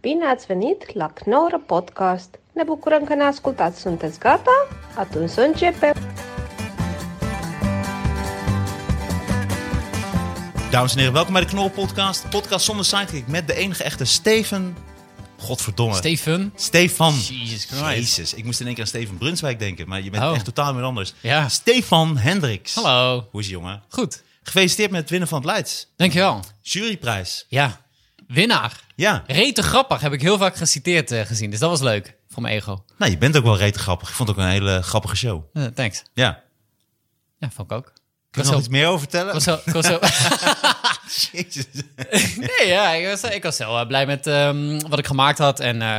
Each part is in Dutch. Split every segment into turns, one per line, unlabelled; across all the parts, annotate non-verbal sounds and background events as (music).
Bine ați venit la Knorr Podcast! Ne bucurăm că ne ascultați. Sunteți gata? Atunci să începem!
Dames en heren, welkom bij de Knol Podcast. Podcast zonder sidekick met de enige echte Steven. Godverdomme.
Steven?
Stefan.
Jesus Christ.
Jezus, ik moest in één keer aan Steven Brunswijk denken, maar je bent
Oh.
echt totaal iemand anders.
Ja.
Stefan Hendricks.
Hallo.
Hoe is je jongen?
Goed,
Gefeliciteerd met het winnen van het Leids.
dankjewel.
Juryprijs.
Ja, winnaar.
Ja.
Rete grappig, heb ik heel vaak geciteerd eh, gezien, dus dat was leuk voor mijn ego.
Nou, je bent ook wel rete grappig. Ik vond het ook een hele grappige show.
Eh, thanks.
Ja.
Ja, vond ik ook. Ik
Kun
was
je nog
zo...
iets meer over
Ik
vertellen?
was zo, ik was zo,
(laughs) Jezus.
(laughs) nee, ja, ik was, ik was heel eh, blij met ehm, wat ik gemaakt had en, eh,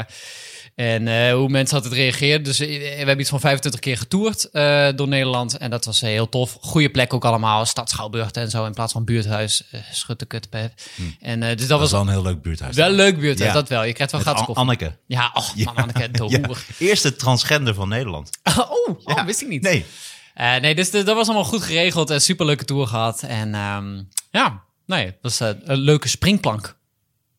en eh, hoe mensen altijd reageerden. Dus eh, we hebben iets van 25 keer getoerd eh, door Nederland en dat was eh, heel tof. Goede plek ook allemaal, stad Schouwburg en zo in plaats van buurthuis, eh Schuttekutpet. En eh,
Hm.
dus dat,
Dat is
was
wel een heel leuk buurthuis.
wel een leuk buurthuis,
Ja.
dat wel. Je krijgt wel
Met
gratis
An-
koffie.
Anneke.
Ja, oh,
Ja.
man, Anneke, de
Ja.
hoer. (laughs)
Eerste transgender van Nederland.
Oh, oh,
Ja.
wist ik niet.
Nee.
Eh, nee, dus de- dat was allemaal goed geregeld en superleuke tour gehad. En ehm, ja, nee, het was eh, een leuke springplank.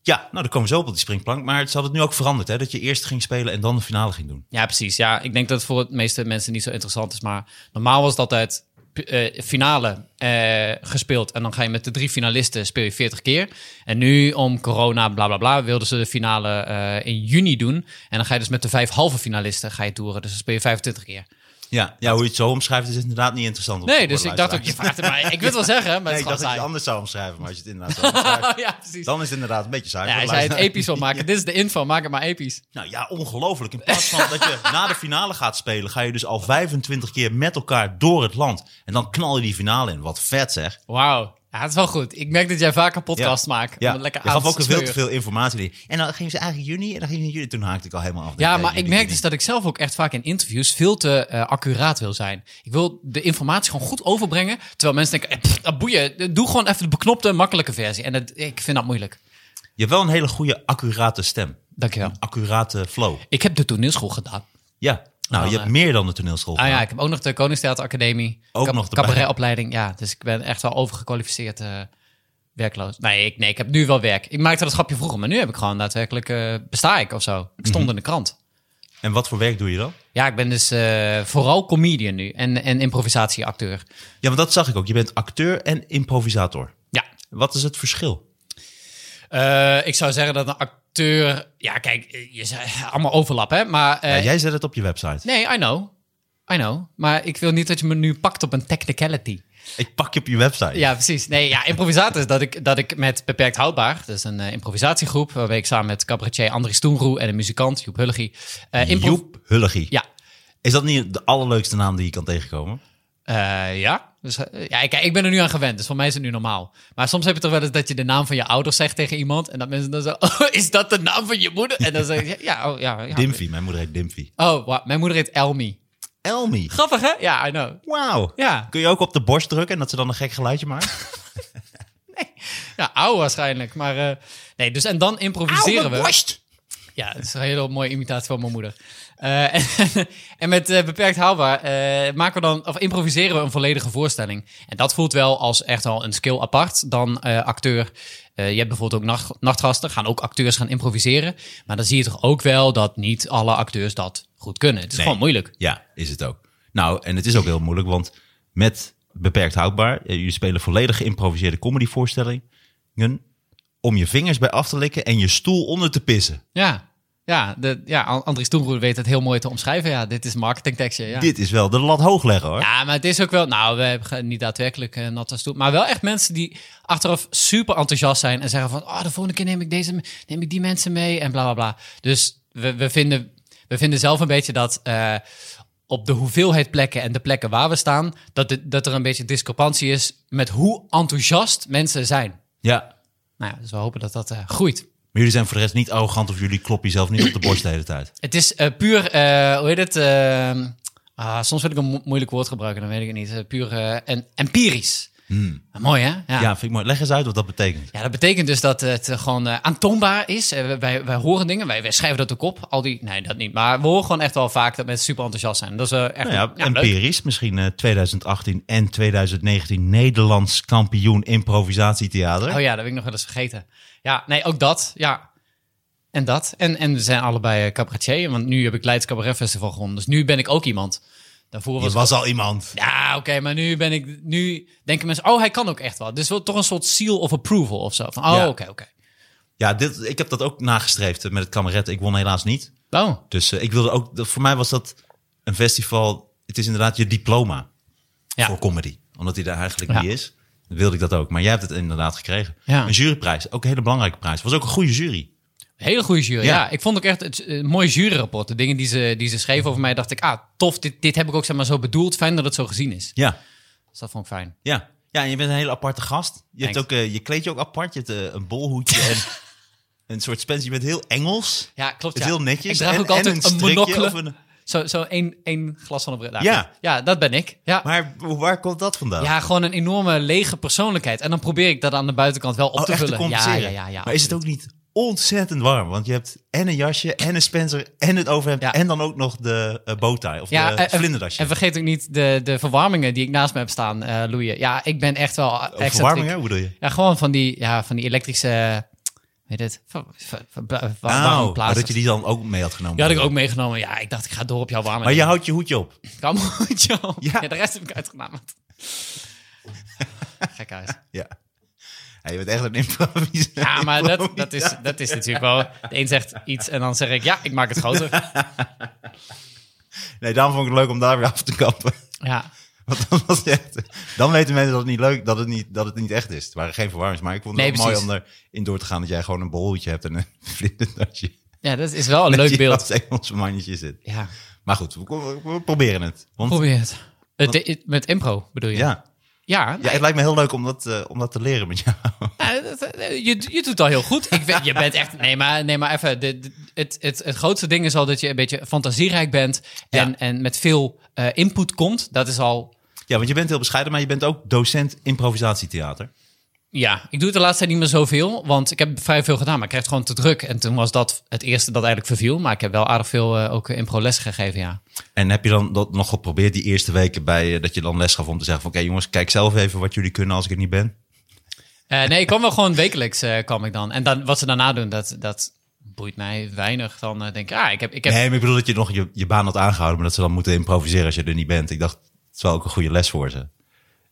Ja, nou, daar komen we zo op, op die springplank. Maar ze hadden het nu ook veranderd, hè? Dat je eerst ging spelen en dan de finale ging doen.
Ja, precies. Ja, ik denk dat het voor de meeste mensen niet zo interessant is. Maar normaal was het altijd eh, finale eh, gespeeld. En dan ga je met de drie finalisten speel je 40 keer. En nu, om corona, bla bla bla, wilden ze de finale eh, in juni doen. En dan ga je dus met de vijf halve finalisten ga je toeren. Dus dan speel je 25 keer.
Ja, ja hoe je het zo omschrijft is inderdaad niet interessant. om te
Nee,
horen,
dus ik dacht ook, je
luisteraars.
vraagt het mij. Ik wil het wel zeggen, maar
Nee,
het
ik
is
dacht dat je het
gewoon
anders zou omschrijven, maar als je het inderdaad zo
(laughs)
omschrijft,
saai. Oh, Ja, precies.
dan is het inderdaad een beetje saai.
Ja,
voor
hij
de
zei het
luisteraar.
episch wil maken. Dit is de info, maak het maar episch.
Nou ja, ongelooflijk. In plaats van dat je na de finale gaat spelen, ga je dus al 25 keer met elkaar door het land. En dan knal je die finale in. Wat vet zeg.
Wauw. Ja, het is wel goed. Ik merk dat jij vaker podcast maakt. om
Ja,
het lekker
je gaf
aan te
ook veel te
sleuren.
veel informatie. in. En dan gingen ze eigenlijk juni en dan gingen ze juli. Toen haakte ik al helemaal af.
Ja,
Nee,
maar
juni,
ik merk
juni.
dus dat ik zelf ook echt vaak in interviews veel te eh, accuraat wil zijn. Ik wil de informatie gewoon goed overbrengen. Terwijl mensen denken, eh, pff, dat boeien. Doe gewoon even de beknopte, makkelijke versie. En dat, ik vind dat moeilijk.
Je hebt wel een hele goede, accurate stem.
Dankjewel.
Accurate flow.
Ik heb de toneelschool gedaan.
Ja, nou,
Dan,
je hebt
eh,
meer dan de toneelschool.
Ah ja,
gedaan.
ik heb ook nog de Koningstheateracademie.
Ook
Kab-
nog erbij.
Cabaretopleiding, ja. Dus ik ben echt wel overgekwalificeerd eh, werkloos. Nee ik, nee, ik heb nu wel werk. Ik maakte dat grapje vroeger, maar nu heb ik gewoon daadwerkelijk... eh, besta ik of zo. Ik
Mhm.
stond in de krant.
En wat voor werk doe je dan?
Ja, ik ben dus eh, vooral comedian nu en, en improvisatieacteur.
Ja, want dat zag ik ook. Je bent acteur en improvisator.
Ja,
Wat is het verschil?
Eh, ik zou zeggen dat een acteur... Ja, kijk, eh, je zei, allemaal overlap, hè. Maar eh,
Ja, jij zet het op je website.
nee, I know. I know. Maar ik wil niet dat je me nu pakt op een technicality.
Ik pak je op je website.
Ja, precies. Nee, ja, improvisator is dat ik, dat ik met Beperkt Houdbaar, dat is een eh, improvisatiegroep, waarbij ik samen met cabaretier Andries Toenroe en een muzikant Joep Hulligie. eh impro-
Joep Hulligie.
Ja.
Is dat niet de allerleukste naam die je kan tegenkomen?
Eh, ja. Dus, eh, ja, ik, ik ben er nu aan gewend, dus voor mij is het nu normaal. Maar soms heb je toch wel eens dat je de naam van je ouders zegt tegen iemand en dat mensen dan zo, (laughs) oh, is dat de naam van je moeder? En dan zeg je, ja, oh, ja. ja.
Dimfy. Mijn moeder heet Dimfy.
Oh, wa- mijn moeder heet Elmi.
Elmi.
Grappig, hè? Ja, I know.
Wauw.
Ja,
Kun je ook op de borst drukken en dat ze dan een gek geluidje maakt?
ja ouw waarschijnlijk. Maar eh, nee, dus en dan improviseren we.
borst.
Ja, het is een hele mooie imitatie van mijn moeder. Eh, (laughs) en, en met eh, beperkt haalbaar eh, maken we dan, of improviseren we een volledige voorstelling. En dat voelt wel als echt al een skill apart dan eh, acteur. Eh, je hebt bijvoorbeeld ook nacht, nachtgasten, gaan ook acteurs gaan improviseren. Maar dan zie je toch ook wel dat niet alle acteurs dat goed kunnen. Het is
Nee.
gewoon moeilijk.
Ja, is het ook. Nou, en het is ook heel moeilijk, want met beperkt houdbaar, eh, jullie spelen volledig geïmproviseerde comedyvoorstellingen om je vingers bij af te likken en je stoel onder te pissen.
Ja, ja, de, ja An- Andries Toenroer weet het heel mooi te omschrijven. Ja, dit is marketingtekstje. Ja.
Dit is wel de lat hoog leggen hoor.
Ja, maar het is ook wel. Nou, we hebben ge- niet daadwerkelijk eh nat als toe. Maar wel echt mensen die achteraf super enthousiast zijn. En zeggen van. Oh, de volgende keer neem ik, deze, neem ik die mensen mee. En bla bla bla. Dus we, we, vinden, we vinden zelf een beetje dat. eh, op de hoeveelheid plekken en de plekken waar we staan. Dat, dit- dat er een beetje discrepantie is. met hoe enthousiast mensen zijn.
ja.
Nou ja, dus we hopen dat dat eh, groeit.
Maar jullie zijn voor de rest niet arrogant of jullie kloppen jezelf niet op de borst de hele tijd.
Het is eh, puur, eh, hoe heet het? eh, ah, soms wil ik een mo- moeilijk woord gebruiken, dan weet ik het niet. Eh, puur eh, en, empirisch. Ah, Mooi, hè?
Hmm. Ja. vind ik mooi. Leg eens uit wat dat betekent.
Ja, dat betekent dus dat het eh, gewoon eh, aantoonbaar is. Eh, we- wij, wij horen dingen, wij, wij schrijven dat ook op. Al die, nee, dat niet. Maar we horen gewoon echt wel vaak dat mensen super enthousiast zijn. Dat is eh, echt
Nou ja,
ja, leuk.
empirisch. Misschien eh, 2018 en 2019 Nederlands kampioen improvisatietheater.
Oh ja, dat heb ik nog wel eens vergeten. Ja, nee, ook dat. Ja, En dat. En, en we zijn allebei eh, cabaretier. Want nu heb ik Leids Cabaret Festival gewonnen. Dus nu ben ik ook iemand. Daarvoor
Je
was
was al iemand.
Ja, oké, maar nu ben ik. Nu denken mensen, oh, hij kan ook echt wel. Dus wel toch een soort seal of approval of zo. Van, oh, oké,
Ja.
oké.
Ja, dit, ik heb dat ook nagestreefd eh, met het kameretten. Ik won helaas niet.
Oh,
Dus eh, ik wilde ook, dat- voor mij was dat een festival. Het is inderdaad je diploma
Ja.
voor comedy, omdat die daar eigenlijk
Ja.
niet is. Dan wilde ik dat ook, maar jij hebt het inderdaad gekregen.
Ja.
Een juryprijs, ook een hele belangrijke prijs. Was ook een goede jury.
hele goede jury. Ja.
Ja.
ik vond ook echt het eh, mooie juryrapport. De dingen die ze, die ze schreven over mij, dacht ik, ah, tof, dit, dit heb ik ook zeg maar, zo bedoeld. Fijn dat het zo gezien is.
Ja,
Dus dat vond ik fijn.
ja, ja. En je bent een hele aparte gast. Je, hebt ook,
Thanks.
eh, je kleed je ook apart. Je hebt eh, een bolhoedje
(laughs)
en een soort spens. Je bent heel Engels.
Ja, klopt.
Het is
Ja.
heel netjes.
Ik draag
En-
ook altijd
en een
een,
strikje
monocle.
of een-
Zo, zo één, één glas van een bril.
Ja.
goed. ja, dat ben ik. Ja.
Maar waar komt dat vandaan?
ja, gewoon een enorme lege persoonlijkheid. En dan probeer ik dat aan de buitenkant wel op
Oh,
te
echt te
vullen. ja,
compenseren.
ja, ja, ja.
maar is het ook niet ontzettend warm? Want je hebt en een jasje, en een Spencer, en het overhemd,
Ja.
en dan ook nog de eh, bowtie of de
en- en-
vlinderdasje.
En vergeet ook niet de, de verwarmingen die ik naast me heb staan, eh loeien. Ja, ik ben echt wel
Of
excentriek.
verwarming, hè? Hoe bedoel je?
Ja, gewoon van die, ja, van die elektrische, weet het, ver, ver, ver, wa-
Nou, maar
warmplaatsen.
dat je die dan ook mee had genomen.
Die had ik ook meegenomen. Ja, ik dacht, ik ga door op jouw warme.
Maar je houdt je hoedje op.
Kom, (laughs) joh. Ja.
Ja.
de rest heb ik uitgenameld. (laughs) Gek uit.
Ja. Ja, je bent echt een improvisator.
Ja, maar dat,
(laughs)
dat, is, dat is natuurlijk wel... De een zegt iets en dan zeg ik, ja, ik maak het
(laughs)
groter.
Nee, daarom vond ik het leuk om daar weer af te kappen. (laughs)
Ja,
Want dan, was het echt, dan weten mensen dat het niet leuk dat het niet, dat het niet echt is. Het waren geen verwarmings, maar ik vond het
Nee,
wel mooi
precies.
om erin door te gaan dat jij gewoon een bolhoedje hebt en een (laughs) vlinderdasje.
ja dat is wel een
Dat (laughs)
leuk
je
beeld.
als Engels mannetje zit.
Ja,
Maar goed, we, we- we proberen het. Want,
probeer het. Het- het- Met impro bedoel je?
ja.
Ja,
ja, het lijkt me heel leuk om dat, eh, om dat te leren met jou. (laughs)
Nou, dat- dat- je, je doet al heel goed. Ik weet, je bent echt. Nee, maar, nee, maar even. de- de- het, het, het grootste ding is al dat je een beetje fantasierijk bent. En,
Ja.
en met veel eh, input komt. Dat is al.
Ja, want je bent heel bescheiden, maar je bent ook docent improvisatietheater.
Ja, ik doe het de laatste tijd niet meer zoveel. Want ik heb vrij veel gedaan. Maar ik kreeg het gewoon te druk. En toen was dat het eerste dat eigenlijk verviel. Maar ik heb wel aardig veel eh, ook impro-lessen gegeven. Ja.
En heb je dan dat nog geprobeerd die eerste weken bij eh, dat je dan les gaf om te zeggen van oké jongens, kijk zelf even wat jullie kunnen als ik er niet ben.
Eh, nee, ik kwam wel gewoon wekelijks. eh, kwam ik dan. En dan, wat ze daarna doen, dat, dat boeit mij weinig. Dan eh, denk ik, ah, ik heb. Ik heb
Nee, maar ik bedoel dat je nog je, je baan had aangehouden, maar dat ze dan moeten improviseren als je er niet bent. Ik dacht, het is wel ook een goede les voor ze.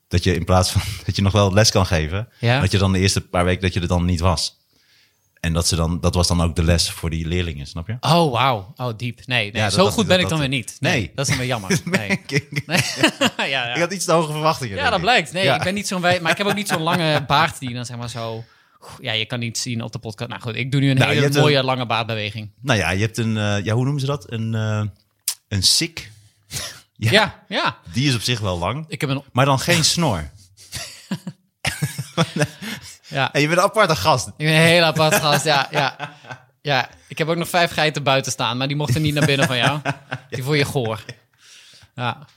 Dat je in plaats van (laughs) dat je nog wel les kan geven,
Ja.
dat je dan de eerste paar weken dat je er dan niet was. En dat, ze dan, dat was dan ook de les voor die leerlingen, snap je? (laughs)
Oh, wauw. Oh, diep. Nee, nee.
Ja, dat
zo
dacht
goed
ik,
ben
dat
ik dan
dacht
weer
ik.
niet. Nee,
Nee.
dat is dan weer
(laughs)
jammer. Nee. Nee. (laughs) ja, ja.
Ik had iets te hoge verwachtingen.
ja,
denk
dat
ik.
blijkt. Nee,
Ja.
ik ben niet zo'n wij, maar ik heb ook niet zo'n lange baard die dan zeg maar zo. Ja, je kan niet zien op de podcast. Nou goed, ik doe nu een
Nou, je
hele
hebt een-
mooie lange baardbeweging.
Nou ja, je hebt een, eh, ja, hoe noemen ze dat? Een, eh een sik.
Ja.
Ja.
ja,
Die is op zich wel lang,
Ik heb een.
maar dan
(laughs)
geen snor.
Ja.
En je bent een aparte gast.
Ik ben een hele apart gast. Ja, ja. Ja, ik heb ook nog vijf geiten buiten staan, maar die mochten niet naar binnen van jou. Die voel je goor. Ja.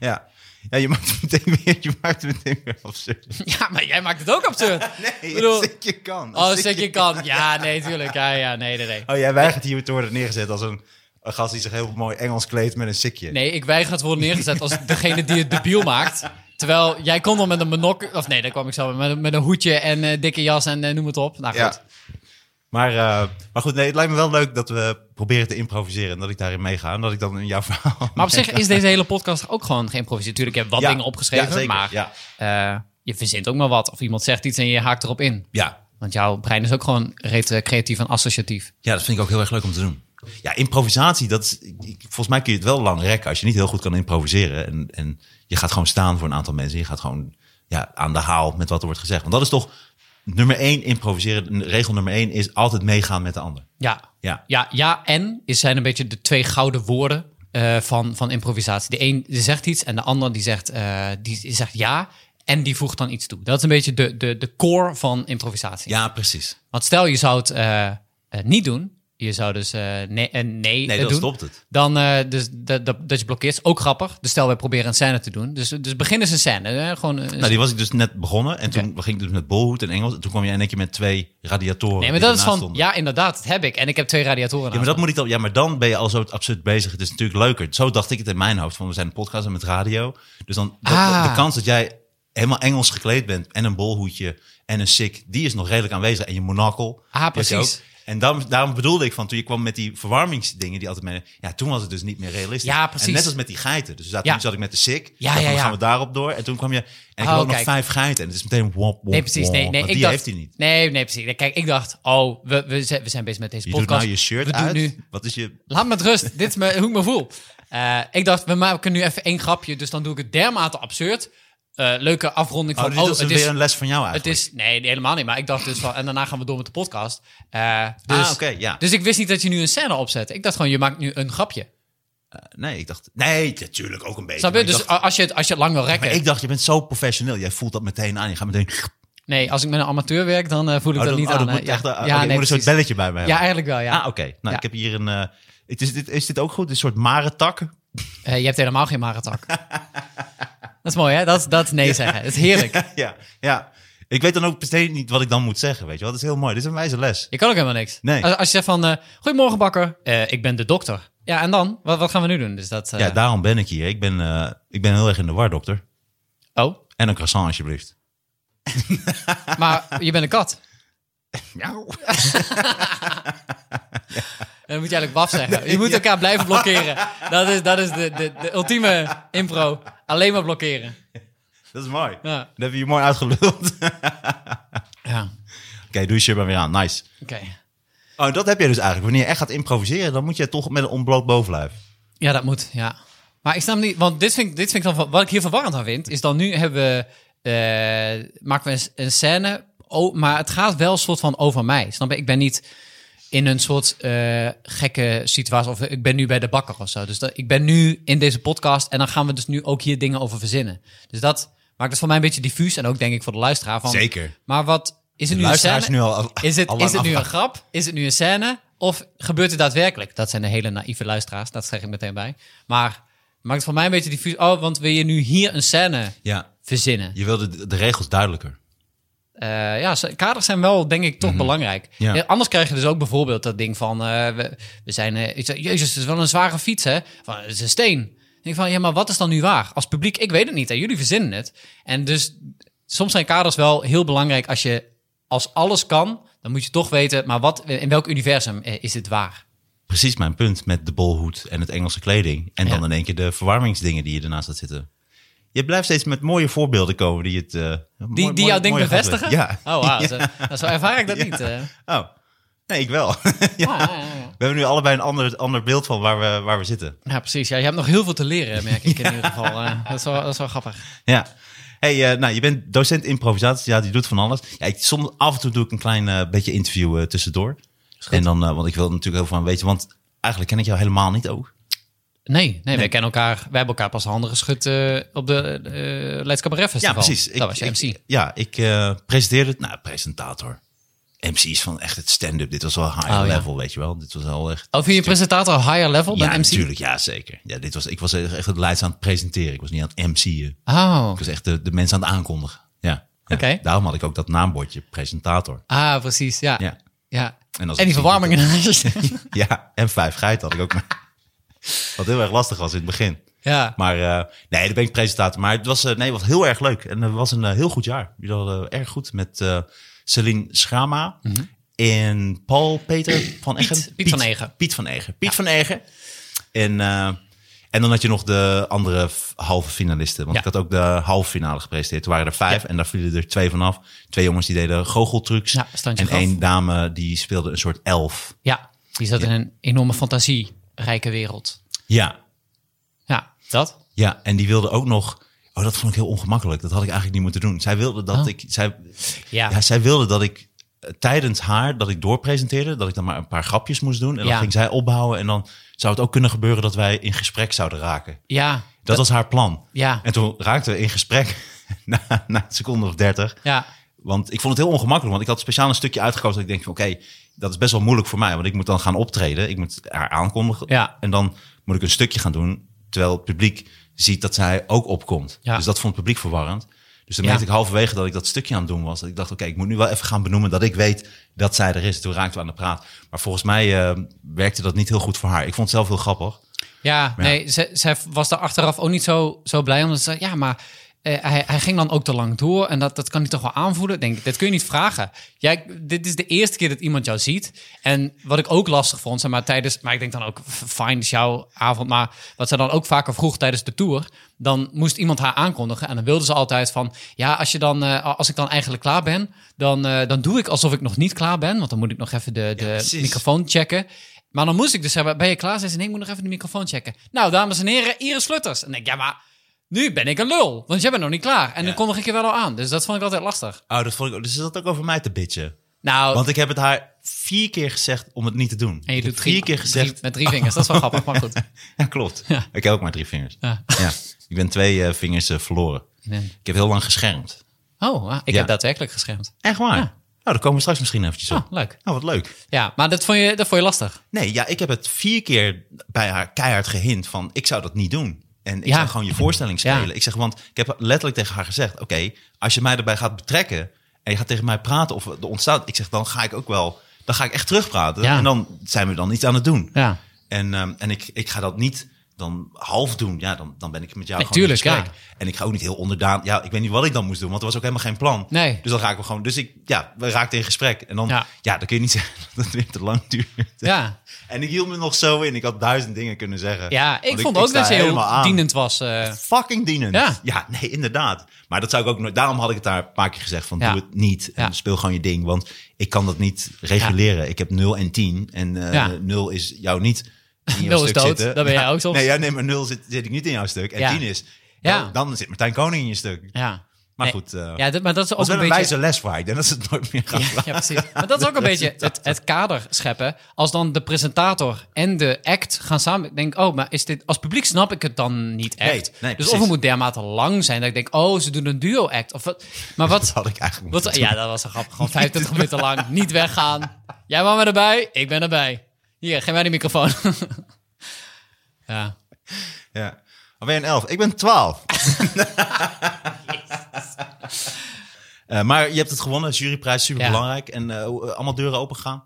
Ja, ja je maakt het meteen weer, je maakt het meteen weer absurd.
ja, maar jij maakt het ook absurd.
(laughs) Nee,
bedoel-
een sikje kan. Een
Oh,
(laughs) sikje-
zeg je kan. Ja, nee, tuurlijk. Ja, ja, nee, nee, nee.
Oh, jij weigert hier te worden neergezet als een, een gast die zich heel mooi Engels kleedt met een sikje.
Nee, ik weiger het worden neergezet als degene die het debiel maakt. Terwijl jij kon dan met een monok... Of nee, daar kwam ik zo met, een- met een hoedje en eh, dikke jas en eh, noem het op. Nou goed.
Ja. Maar, eh, maar goed, nee, het lijkt me wel leuk dat we proberen te improviseren en dat ik daarin meega en dat ik dan in jouw verhaal...
Maar op zich is deze hele podcast ook gewoon geïmproviseerd. Tuurlijk, je hebt wat
Ja,
dingen opgeschreven,
ja, zeker,
maar
ja.
eh, je verzint ook maar wat. Of iemand zegt iets en je haakt erop in.
Ja.
Want jouw brein is ook gewoon reet eh, creatief en associatief.
ja, dat vind ik ook heel erg leuk om te doen. Ja, improvisatie, dat is, ik- ik- volgens mij kun je het wel lang rekken als je niet heel goed kan improviseren. En, en je gaat gewoon staan voor een aantal mensen. Je gaat gewoon ja, aan de haal met wat er wordt gezegd. Want dat is toch nummer één improviseren. Regel nummer één is altijd meegaan met de ander.
Ja.
Ja.
Ja, ja en is zijn een beetje de twee gouden woorden eh, van, van improvisatie. De een die zegt iets en de ander die zegt, eh, die zegt ja en die voegt dan iets toe. Dat is een beetje de, de, de core van improvisatie.
Ja, precies.
Want stel je zou het eh, eh, niet doen, je zou dus eh, nee, eh, nee, eh,
Nee, dan
doen.
stopt het.
Dan eh, dus, dat, dat, dat je blokkeert. Is Ook grappig. Dus stel, wij proberen een scène te doen. Dus, dus begin eens een scène. Hè? Gewoon, eh,
Nou, die was ik dus net begonnen. En toen ging ik dus met bolhoed en Engels. En toen kwam je in één keer met twee radiatoren.
nee, maar
die
dat is
ernaast
van...
stonden.
Ja, inderdaad, dat heb ik. En ik heb twee radiatoren
Ja, maar dat moet ik dan. Ja, maar dan ben je al zo absurd bezig. Het is natuurlijk leuker. Zo dacht ik het in mijn hoofd. Van we zijn een podcast en met radio. Dus dan dat-
Ah.
de kans dat jij helemaal Engels gekleed bent en een bolhoedje en een sik, die is nog redelijk aanwezig. En je monocle.
Ah,
die heb je
precies.
ook. En daarom, daarom bedoelde ik van toen je kwam met die verwarmingsdingen die altijd mee. Ja, toen was het dus niet meer realistisch.
Ja, precies.
En net als met die geiten. Dus zat,
Ja.
toen zat ik met de sick.
Ja,
Dacht,
ja,
dan
ja.
gaan we daarop door. En toen kwam je. En ik
Oh,
had nog
kijk.
vijf geiten. En het is meteen wop, wop,
Nee, precies. Nee,
wop.
nee,
Want
ik
die
dacht,
heeft hij niet.
Nee, nee, precies. Kijk, ik dacht, oh, we, we, zijn, we zijn bezig met deze
Je doet
podcast.
nou je shirt
we doen
uit.
Nu,
Wat is je.
laat me met rust. (laughs) Dit is me, hoe ik me voel. Eh, ik dacht, we maken nu even één grapje. Dus dan doe ik het dermate absurd. Eh, leuke afronding
Oh,
van,
dit
oh,
was
het
weer
is,
een les van jou eigenlijk.
het is... Nee, helemaal niet. Maar ik dacht dus van, en daarna gaan we door met de podcast. Eh, dus,
ah, oké, ja.
dus ik wist niet dat je nu een scène opzet. Ik dacht gewoon, je maakt nu een grapje.
nee, ik dacht. Nee, natuurlijk ook een beetje.
Snap
maar
je?
ik
Dus
dacht-
a- als, je het, als je het lang wil
Maar
rekken.
ik dacht, je bent zo professioneel. Jij voelt dat meteen aan. Je gaat meteen.
Nee, als ik met een amateur werk, dan eh, voel ik
Oh,
dat
dat-
niet
oh,
aan.
dat
hè.
moet echt.
ja,
oh,
ja,
je moet
nee,
een soort
precies.
belletje bij me hebben.
Ja, eigenlijk wel, ja.
Ah, oké. Nou,
Ja.
ik heb hier een. eh, het is, dit, is dit ook goed? Een soort marentak?
Eh, je hebt helemaal geen maratak. dat is mooi, hè? Dat, is- dat is nee zeggen. Dat is heerlijk.
(laughs) ja, ja. Ik weet dan ook meteen niet wat ik dan moet zeggen, weet je wel. Dat is heel mooi. Dit is een wijze les.
Je kan ook helemaal niks.
Nee.
Als, als je zegt van, eh, goedemorgen bakker, Eh, ik ben de dokter. Ja, en dan? Wat, wat gaan we nu doen? Dus dat, eh,
Ja, daarom ben ik hier. Ik ben, eh, ik ben heel erg in de war, dokter.
Oh,
En een croissant, alsjeblieft.
maar je bent een kat.
Ja.
Dan moet je eigenlijk waf zeggen. Je moet elkaar blijven blokkeren. Dat is, dat is de, de, de ultieme impro. Alleen maar blokkeren.
Dat is mooi. Dat
Ja,
heb je je mooi uitgeluld. (laughs) Oké,
ja.
doe je shirt maar weer aan. Nice.
oké.
Oh, dat heb je dus eigenlijk. Wanneer je echt gaat improviseren, dan moet je toch met een ontbloot bovenlijf.
Ja, dat moet, ja. Maar ik snap niet, want dit vind, ik- dit vind ik dan... van- Wat ik hier verwarrend aan vind, is dan nu hebben we... eh, maken we een, een scène, oh, maar het gaat wel een soort van over mij. Snap je? Ik ben niet in een soort eh, gekke situatie of ik ben nu bij de bakker of zo. Dus dat, ik ben nu in deze podcast en dan gaan we dus nu ook hier dingen over verzinnen. Dus dat maakt het voor mij een beetje diffuus en ook denk ik voor de luisteraar van...
Zeker.
Maar wat... Is er nu een
Luisteraars
scène?
nu al.
Is het,
al
is het nu een
afgehaakt.
grap? Is het nu een scène? Of gebeurt het daadwerkelijk? Dat zijn de hele naïeve luisteraars, dat zeg ik meteen bij. Maar maakt het voor mij een beetje diffuus. Oh, want wil je nu hier een scène
Ja,
verzinnen?
je wilde de, de regels duidelijker.
Eh, ja, ze- kaders zijn wel, denk ik, toch belangrijk.
Mhm. Ja.
Eh, Anders krijg je dus ook bijvoorbeeld dat ding van... eh, we, we zijn... eh, ik zeg, Jezus, het is wel een zware fiets, hè? Van, het is een steen. Ik denk van, ja, maar wat is dan nu waar? Als publiek, ik weet het niet. En jullie verzinnen het. En dus soms zijn kaders wel heel belangrijk. Als je als alles kan, dan moet je toch weten... maar wat, in welk universum eh, is dit waar?
Precies mijn punt met de bolhoed en het Engelse kleding. En dan
Ja.
in één keer de verwarmingsdingen die je ernaast had zitten. Je blijft steeds met mooie voorbeelden komen die het... eh,
Die,
mooi-
die jouw
mooi-
ding
mooi gaat
bevestigen?
leggen. Ja.
Oh,
(laughs)
wauw. Zo, nou, zo ervaar ik dat
Ja.
niet. eh. Ah,
Oh, nee, ik wel. (laughs)
ja. ja, ja.
We hebben nu allebei een ander, ander beeld van waar we, waar we zitten.
Ja, precies. Ja, je hebt nog heel veel te leren, merk ik in ieder geval. eh. dat, is wel, dat is wel grappig.
Ja. Hey, eh, nou, je bent docent improvisatie. Ja, die doet van alles. Ja, ik, soms, af en toe doe ik een klein eh, beetje interview eh, tussendoor. En dan, eh, want ik wil er natuurlijk heel veel van weten. Want eigenlijk ken ik jou helemaal niet ook.
Nee, nee, wij kennen elkaar. Wij hebben elkaar pas handen geschud eh, op de eh Leids Cabaret
Ja,
Festival.
precies.
Dat was je
ik-
MC.
Ja, ik eh, presenteerde het. Nou, presentator. MC's van echt het stand-up. Dit was wel high
Oh, ja.
level, weet je wel. Dit was al echt...
oh, vind je presentator higher level
ja,
dan MC?
natuurlijk. Ja, zeker. Ja, dit was, ik was echt het lijst aan het presenteren. Ik was niet aan het MC'en.
Oh,
Ik was echt de, de mensen aan het aankondigen. Ja. Ja.
Oké.
Daarom had ik ook dat naambordje, presentator.
ah, precies. Ja. ja.
Ja. En, als
En die
ik-
verwarming in
(laughs)
huis.
Ja, en vijf geiten had ik ook. maar- Wat heel erg lastig was in het begin.
ja.
Maar eh, nee, daar ben ik presentator. Maar het was, eh, nee, wat heel erg leuk. En het was een eh, heel goed jaar. Jullie hadden erg goed met eh Celine Schrama. En Paul Peter van Eggen.
Mhm. Piet van Eggen.
Piet van Eggen. Piet van Eggen. En, eh, en dan had je nog de andere f- halve finalisten. Want
Ja.
ik had ook de halve finale gepresenteerd. Er waren er vijf en daar vielen er twee vanaf. Twee jongens die deden goocheltrucs.
Ja, standje
en
gaf.
één dame die speelde een soort elf.
ja, die zat in een enorme fantasierijke wereld.
Ja,
Ja, dat?
Ja, en die wilde ook nog. Oh, dat vond ik heel ongemakkelijk. Dat had ik eigenlijk niet moeten doen. Zij wilde dat
Oh.
ik. Zij,
Ja.
ja. zij wilde dat ik eh, tijdens haar dat ik doorpresenteerde, dat ik dan maar een paar grapjes moest doen. En
Ja.
dan ging zij opbouwen. En dan zou het ook kunnen gebeuren dat wij in gesprek zouden raken.
Ja.
Dat, was haar plan.
Ja.
En toen raakten we in gesprek (laughs) na, na een seconde of dertig.
Ja.
Want ik vond het heel ongemakkelijk. Want ik had speciaal een stukje uitgekozen. Dat ik denk van oké, dat is best wel moeilijk voor mij. Want ik moet dan gaan optreden. Ik moet haar aankondigen.
Ja.
En dan moet ik een stukje gaan doen. Terwijl het publiek ziet dat zij ook opkomt.
Ja.
Dus dat vond het publiek verwarrend. Dus dan
Ja.
merkte ik halverwege dat ik dat stukje aan het doen was. Dat ik dacht, oké, ik moet nu wel even gaan benoemen dat ik weet dat zij er is. Toen raakten we aan de praat. Maar volgens mij eh, werkte dat niet heel goed voor haar. Ik vond het zelf heel grappig.
Ja, nee, zij, zij was daar achteraf ook niet zo, zo blij om. Ze zei, ja, maar eh, hij, hij ging dan ook te lang door en dat, dat kan hij toch wel aanvoelen. Ik Denk, dat kun je niet vragen. Jij, dit is de eerste keer dat iemand jou ziet. En wat ik ook lastig vond, zeg maar tijdens, maar ik denk dan ook, f- fijn is jouw avond. Maar wat ze dan ook vaker vroeg tijdens de tour, dan moest iemand haar aankondigen. En dan wilden ze altijd van, ja, als, je dan, eh, als ik dan eigenlijk klaar ben, dan, eh, dan doe ik alsof ik nog niet klaar ben. Want dan moet ik nog even de, de
precies.
microfoon checken. Maar dan moest ik dus zeggen, ben je klaar? Zei ze, nee, ik moet nog even de microfoon checken. Nou, dames en heren, Iris Slutters. En dan denk ik, ja, maar nu ben ik een lul, want jij bent nog niet klaar. En
Ja.
dan kondig ik je wel al aan, dus dat vond ik altijd lastig.
Oh, dat vond ik, dus ze zat ook over mij te bitchen.
Nou,
Want ik heb het haar vier keer gezegd om het niet te doen.
en je
Ik
doet
heb vier
drie,
keer gezegd.
drie- met drie
(laughs)
vingers, dat is wel grappig, maar goed.
Ja, klopt. Ik heb ook maar drie vingers.
Ja.
Ja. Ik ben twee eh, vingers eh, verloren.
Nee.
Ik heb heel lang geschermd.
Oh, ah, ik
Ja.
heb daadwerkelijk geschermd.
Echt waar? Nou, daar komen we straks misschien eventjes op.
Oh, leuk.
Nou, wat leuk.
Ja, maar dat vond je, dat vond je lastig.
Nee, ja, ik heb het vier keer bij haar keihard gehind van... ik zou dat niet doen. En ik
Ja.
zou gewoon je voorstelling spelen.
Ja.
Ik zeg, want ik heb letterlijk tegen haar gezegd... oké, als je mij erbij gaat betrekken... en je gaat tegen mij praten of er ontstaat... ik zeg, dan ga ik ook wel... dan ga ik echt terugpraten.
Ja.
En dan zijn we dan iets aan het doen.
Ja.
En, ehm, en ik, ik ga dat niet dan half doen. Ja, dan, dan ben ik met jou
Nee,
gewoon in
tuurlijk,
gesprek. En ik ga ook niet heel onderdaan. Ja, ik weet niet wat ik dan moest doen, want er was ook helemaal geen plan.
Nee.
Dus dan raken we gewoon... Dus ik, ja, we raakten in gesprek. En dan, ja,
Ja.
dan kun je niet zeggen (laughs) dat het weer te lang duurt.
Ja,
En ik hield me nog zo in. Ik had duizend dingen kunnen zeggen.
ja ik
Want
vond ook
sta
dat je heel
helemaal aan.
dienend was. eh.
Fucking dienend. Ja.
Ja.
nee, inderdaad. Maar dat zou ik ook nooit... Daarom had ik het daar een paar keer gezegd van...
Ja.
Doe het niet. En
Ja.
speel gewoon je ding. Want ik kan dat niet reguleren. Ik heb 0 en 10. En eh
Ja.
0 is jou niet... in jouw
Nul is
stuk
dood.
zitten.
Daar ben jij
Ja.
ook soms.
Nee, ja, nee maar 0 zit, zit ik niet in jouw stuk. En
Ja.
10 is...
Ja.
Dan, dan zit Martijn Koning in je stuk.
ja.
Maar
Nee.
goed... eh
ja, dat, maar dat is ook
was wel
een
een,
beetje...
wijze les voor haar. Ik denk dat ze het nooit meer gaat
Ja, ja, precies. Maar dat is
(laughs)
ook een beetje het, het kader scheppen. Als dan de presentator en de act gaan samen. Ik denk, oh, maar is dit, als publiek snap ik het dan niet echt.
Nee, nee,
dus
precies.
of het moet dermate lang zijn dat ik denk, oh, ze doen een duo-act. Of wat.
(laughs)
Maar
Dat
wat,
had ik eigenlijk
wat.
moeten
Ja, dat was een grap. Gewoon 25 minuten lang. Niet weggaan. Jij wou maar erbij. Ik ben erbij. Hier, geef mij die microfoon. (laughs) ja.
doen. Ja. Of ben je een 11? Ik ben
(laughs)
12. Eh, maar je hebt het gewonnen, juryprijs, super belangrijk. En eh, hoe- allemaal deuren open gaan.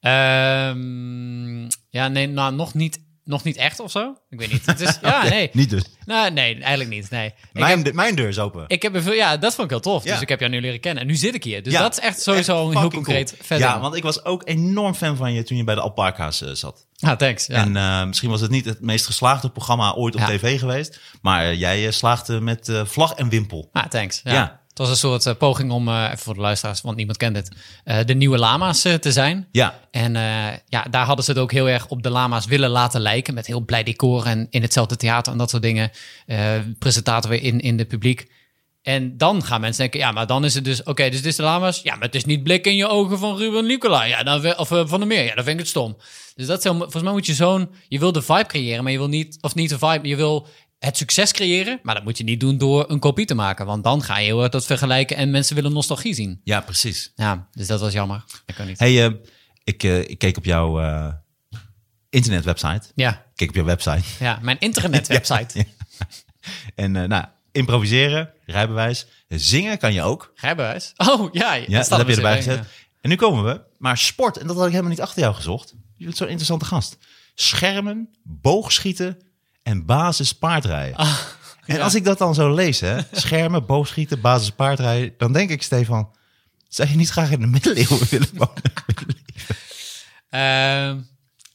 Ehm, ja, nee, nou, nog niet, nog niet echt of zo. Ik weet niet. Het
(laughs)
is, ja, nee.
Niet dus.
Nou, nee, eigenlijk niet. Nee. Ik
Mijn, de- mijn deur is open.
Ik heb me veel, ja, dat vond ik heel tof.
Ja.
Dus ik heb jou nu leren kennen. En nu zit ik hier. Dus
Ja,
dat is echt sowieso een heel
fucking
concreet
cool.
verder.
Ja, want ik was ook enorm fan van je toen je bij de Alpaca's eh, zat.
Ah, thanks. Ja.
En eh, misschien was het niet het meest geslaagde programma ooit op
Ja.
tv geweest. Maar eh, jij eh, slaagde met eh, vlag en wimpel.
ah, thanks. Ja.
Ja.
Het was een soort eh, poging om, eh, even voor de luisteraars, want niemand kent dit, eh, de nieuwe lama's eh, te zijn.
Ja,
En eh, ja, daar hadden ze het ook heel erg op de lama's willen laten lijken. Met heel blij decor en in hetzelfde theater en dat soort dingen. Eh, presentator weer in, in de publiek. En dan gaan mensen denken, ja, maar dan is het dus... Oké, dus dit is de lama's. Ja, maar het is niet blik in je ogen van Ruben Nicola. Ja, dan, we- of eh, Van der Meer. Ja, dan vind ik het stom. Dus dat is heel, volgens mij moet je zo'n... Je wil de vibe creëren, maar je wil niet... Of niet de vibe, je wil het succes creëren. Maar dat moet je niet doen door een kopie te maken. Want dan ga je heel erg dat vergelijken en mensen willen nostalgie zien.
ja precies.
Ja, dus dat was jammer. Dat kan niet.
Hey, eh, ik, eh, ik keek op jouw eh, internetwebsite.
Ja,
Ik keek op jouw website.
Ja, mijn internetwebsite.
(laughs) Ja. En eh, nou, improviseren, rijbewijs, zingen kan je ook.
Rijbewijs. Oh, ja.
Ja, dat heb je erbij gezet.
Ja.
En nu komen we. Maar sport, en dat had ik helemaal niet achter jou gezocht. Je bent zo'n interessante gast. Schermen, boogschieten en basis paardrijden.
Ah,
en als ik dat dan zo lees,
(laughs)
hè. Schermen, boogschieten, basis paardrijden. Dan denk ik, Stefan, zou je niet graag in de middeleeuwen (laughs) willen wonen?
Ehm,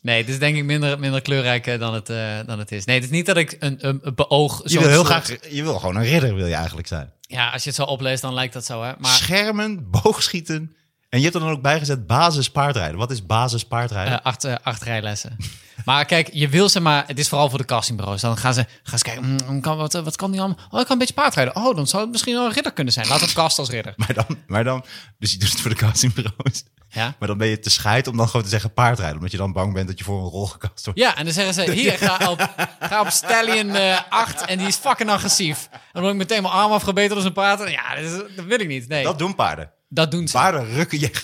nee, dit is denk ik minder, minder kleurrijk eh, dan het, eh, dan het is. Nee, het is niet dat ik een, een, een beoog...
je
zo'n
wil heel
soort-
graag, je wil gewoon een ridder wil je eigenlijk zijn.
Ja, als je het zo opleest, dan lijkt dat zo, hè. Maar
Schermen, boogschieten. En je hebt er dan ook bij gezet basis paardrijden. Wat is basis paardrijden?
eh, acht, eh, acht rijlessen. (laughs) maar kijk, je wil ze maar... Het is vooral voor de castingbureaus. Dan gaan ze, gaan ze kijken, mm, kan, wat, eh, wat kan die allemaal? Oh, ik kan een beetje paardrijden. Oh, dan zou het misschien wel een ridder kunnen zijn. Laat het cast als ridder.
Maar dan, maar dan, dus je doet het voor de castingbureaus.
Ja.
Maar dan ben je te scheid om dan gewoon te zeggen paardrijden. Omdat je dan bang bent dat je voor een rol gekast wordt.
Ja, en dan zeggen ze, hier, ga op, ga op Stallion eh, 8 en die is fucking agressief. En dan word ik meteen mijn arm afgebeten door zijn paard. Ja, dat, is- dat wil ik niet. Nee,
Dat
dat,
doen paarden.
doen (laughs) ze.
Paarden rukken, je,
(laughs)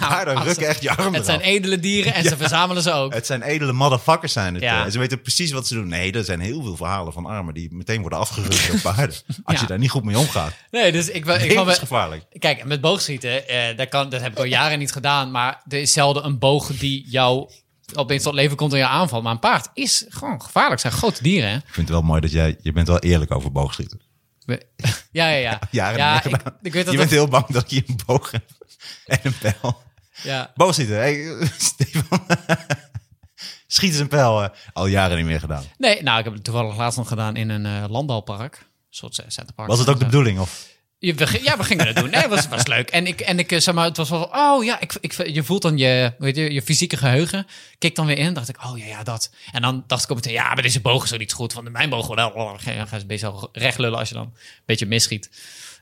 paarden
Nou, als ze-
rukken echt je armen
het zijn
eraf.
edele
(laughs)
dieren en ze verzamelen ze ook.
Het zijn edele motherfuckers zijn het.
Ja.
eh. En ze weten precies wat ze doen. Nee, er zijn heel veel verhalen van armen die meteen worden afgerukt door paarden. Als je
(laughs) Ja.
daar niet goed mee omgaat.
Nee, dus ik, wou- ik wou-
Levensgevaarlijk.
Kijk, met boogschieten, eh, dat, kan, dat heb ik al jaren niet gedaan. Maar er is zelden een boog die jou opeens tot leven komt en jou aanvalt. Maar een paard is gewoon gevaarlijk. Het zijn grote dieren, hè?
Ik vind het wel mooi dat jij, je bent wel eerlijk over boogschieten.
ben- (laughs) Ja, ja, ja.
(laughs) jaren
ja, ik,
meegedaan.
ik weet dat
je bent
het-
heel bang dat je een boog hebt en een pijl.
ja.
Boog zitten, hey, (laughs) Stefan. Schiet eens een pijl. eh, al jaren niet meer gedaan.
Nee, nou, ik heb het toevallig laatst nog gedaan in een eh, landbouwpark. Een soort ce- centerpark.
Was het ook de
Zo.
bedoeling? Of?
Ja, we, ging- ja, we gingen dat doen. Nee, het was, was leuk. En ik, en ik eh, zeg maar, het was wel van, oh ja, ik, ik, je voelt dan je, weet je, je fysieke geheugen. Keek dan weer in, dacht ik, oh ja, ja, dat. En dan dacht ik op meteen, ja, maar deze boog is ook niet goed. Want mijn boog wel, oh, ga ga eens bezig recht lullen als je dan een beetje misschiet.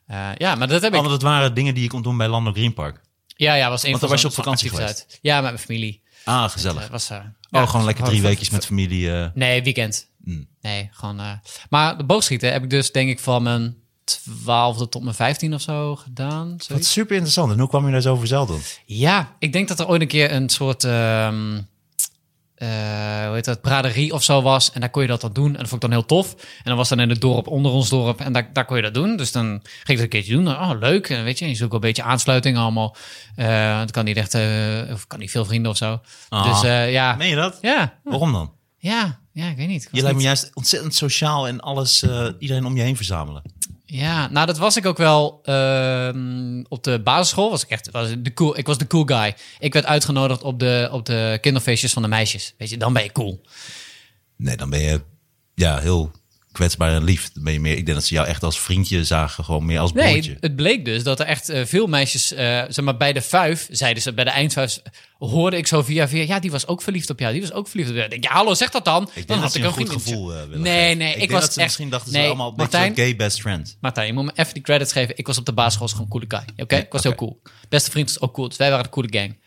Eh, ja, maar dat heb ik.
Want het waren dingen die je kon doen bij Landelijk Green Park.
Ja, ja, was een
Want
van
dan was je
zo'n-
op vakantie
zo'n activiteit. Ja, met mijn familie.
Ah,
Eh,
gezellig.
was, eh, ja,
Oh, gewoon lekker drie
v-
weekjes met familie. eh,
Nee, weekend.
Mm.
Nee, gewoon. eh, maar de boogschieten heb ik dus denk ik van mijn twaalfde tot mijn vijftien of zo gedaan.
Wat
zoiets.
super interessant. En hoe kwam je daar zo voor zelf dan?
Ja, ik denk dat er ooit een keer een soort. ehm, eh, hoe heet dat? Braderie of zo was. En daar kon je dat dan doen. En dat vond ik dan heel tof. En dan was dan in het dorp onder ons dorp. En daar, daar kon je dat doen. Dus dan ging ik dat een keertje doen. Dan, oh, leuk. En weet je, en je zoekt wel een beetje aansluiting allemaal. Eh het kan niet echt. eh, of kan niet veel vrienden of zo.
Ah.
Dus eh, ja.
Meen je dat?
Ja,
Waarom dan?
ja, ja, ik weet niet. Ik was
Je lijkt me
niet-
juist ontzettend sociaal en alles, eh, iedereen om je heen verzamelen.
Ja, nou dat was ik ook wel ehm, op de basisschool. Was ik, echt, was de cool, ik was de cool guy. Ik werd uitgenodigd op de, op de kinderfeestjes van de meisjes. Weet je, dan ben je cool.
Nee, dan ben je ja, heel kwetsbaar en lief. Dan ben je meer, ik denk dat ze jou echt als vriendje zagen, gewoon meer als
Nee,
broertje.
het bleek dus dat er echt eh, veel meisjes, eh, zeg maar bij de vuif, zeiden ze, bij de eindvuif, hoorde ik zo via via, ja, die was ook verliefd op jou, die was ook verliefd op jou. Ik denk, ja, hallo, zeg dat dan.
ik
dan
denk dat ze een, goed
vriendinnetje.
gevoel eh, willen
Nee,
geven.
nee,
ik,
ik,
denk
was
dat ze
echt,
misschien dachten
nee,
ze allemaal een
Martijn,
beetje gay best friend.
Martijn, je moet me even die credits geven. Ik was op de basisschool gewoon een coole guy, oké? Ik was heel cool. Beste vriend was ook cool, dus wij waren de coole gang.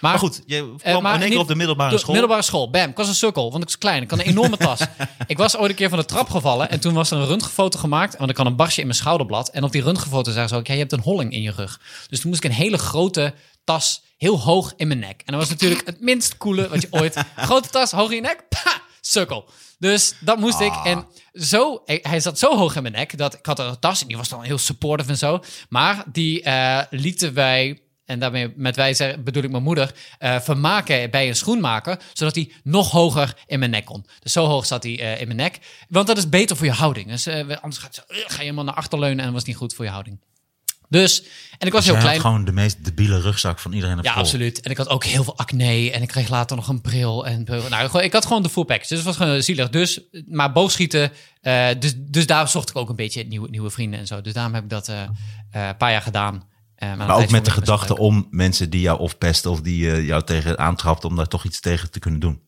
Maar goed, je
Eh,
kwam
maar
in één keer
niet-
op de middelbare
Toen-
school.
Middelbare school, bam. Ik was een sukkel, want ik was klein. Ik had een enorme
(laughs)
tas. ik was ooit een keer van de trap gevallen en toen was er een röntgenfoto gemaakt. Want ik had een barstje in mijn schouderblad. En op die röntgenfoto zagen ze ook, ja, je hebt een holling in je rug. Dus toen moest ik een hele grote tas heel hoog in mijn nek. En dat was natuurlijk het minst coole wat je ooit...
(laughs)
grote tas, hoog in je nek, pa, sukkel. Dus dat moest ik.
Ah.
En zo, hij- hij zat zo hoog in mijn nek dat ik had een tas en die was dan heel supportive en zo. Maar die eh, lieten wij en daarmee met wij zeg- bedoel ik mijn moeder, eh, vermaken bij een schoenmaker, zodat hij nog hoger in mijn nek kon. Dus zo hoog zat hij eh, in mijn nek. Want dat is beter voor je houding. Dus, eh, anders gaat, zo- ga je helemaal naar achter leunen en dat was niet goed voor je houding. Dus, en ik was
Jij had
heel klein.
gewoon de meest debiele rugzak van iedereen op
Ja,
school.
absoluut. En ik had ook heel veel acne. En ik kreeg later nog een bril. En, nou, gewoon- ik had gewoon de full package. Dus het was gewoon zielig. Dus, maar boogschieten. eh, dus, dus daar zocht ik ook een beetje nieuwe, nieuwe vrienden en zo. Dus daarom heb ik dat eh, eh, een paar jaar gedaan. Eh, maar
Maar ook met de
gedachten
gedachte om mensen die jou of pesten of die eh, jou tegen aantrapt, om daar toch iets tegen te kunnen doen.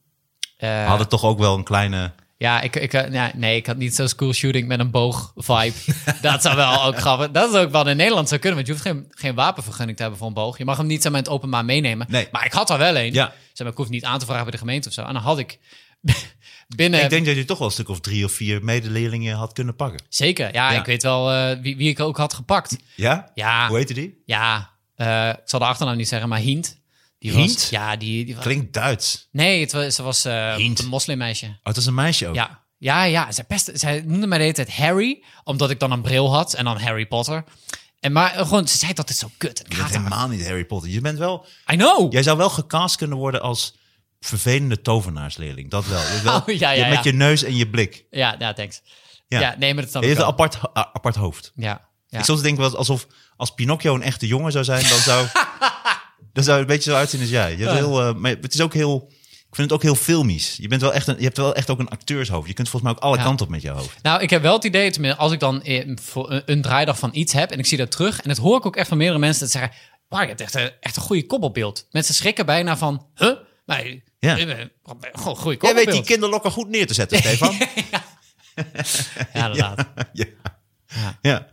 Eh,
We hadden toch ook wel een kleine...
Ja, ik, ik, eh, ja, nee, ik had niet zo'n school shooting met een boog
(laughs)
vibe. dat zou wel ook grappig. Dat is ook wat in Nederland zou kunnen. Want je hoeft geen, geen wapenvergunning te hebben voor een boog. Je mag hem niet zomaar in het openbaar meenemen.
Nee.
Maar ik had er wel een.
Ja.
Zeg maar, ik hoef niet aan te vragen bij de gemeente of zo. En dan had ik (laughs) binnen.
ik denk dat je toch wel een stuk of drie of vier medeleerlingen had kunnen pakken.
Zeker. Ja,
Ja.
ik weet wel eh, wie, wie ik ook had gepakt.
Ja?
Ja.
Hoe heette die?
Ja. eh, ik zal de achternaam niet zeggen, maar Hint. Die
Hint?
Was, ja, die, die was-
Klinkt Duits.
Nee, het was, ze was eh,
Hint.
een moslimmeisje.
Oh, het is een meisje ook.
Ja, ja, ja. Zij, pest, zij noemde mij de hele tijd Harry, omdat ik dan een bril had en dan Harry Potter. En maar eh, gewoon, ze zei dat dit zo kut. en Ik
Je bent
haat haar.
helemaal niet Harry Potter. Je bent wel,
I know.
jij zou wel gecast kunnen worden als vervelende tovenaarsleerling. Dat wel. Je bent wel-
(laughs) Oh, ja, ja,
je- Met
ja.
je neus en je blik.
Ja, ja, thanks.
Ja.
Ja, nee, maar dat
Je
snap ik
hebt een
wel.
apart, ho- a- apart hoofd.
Ja, ja.
Ik soms denk wel alsof als Pinocchio een echte jongen zou zijn, dan
(laughs)
zou, dan zou het een beetje zo uitzien als jij. Je hebt
Ja.
heel, eh, maar het is ook heel, ik vind het ook heel filmisch. Je, bent wel echt een, je hebt wel echt ook een acteurshoofd. Je kunt volgens mij ook alle
Ja.
kanten op met je hoofd.
Nou, ik heb wel het idee, tenminste, als ik dan eh, voor een- een draaidag van iets heb en ik zie dat terug, en dat hoor ik ook echt van meerdere mensen dat zeggen, waar je hebt echt een, echt een goede koppelbeeld. Mensen schrikken bijna van, huh? Maar,
Ja.
ja. Gewoon een goede
Jij weet
koppelbeeld.
die kinderlokken goed neer te zetten, Stefan.
Ja, inderdaad. Ja.
(laughs) ja. Ja.
Ja.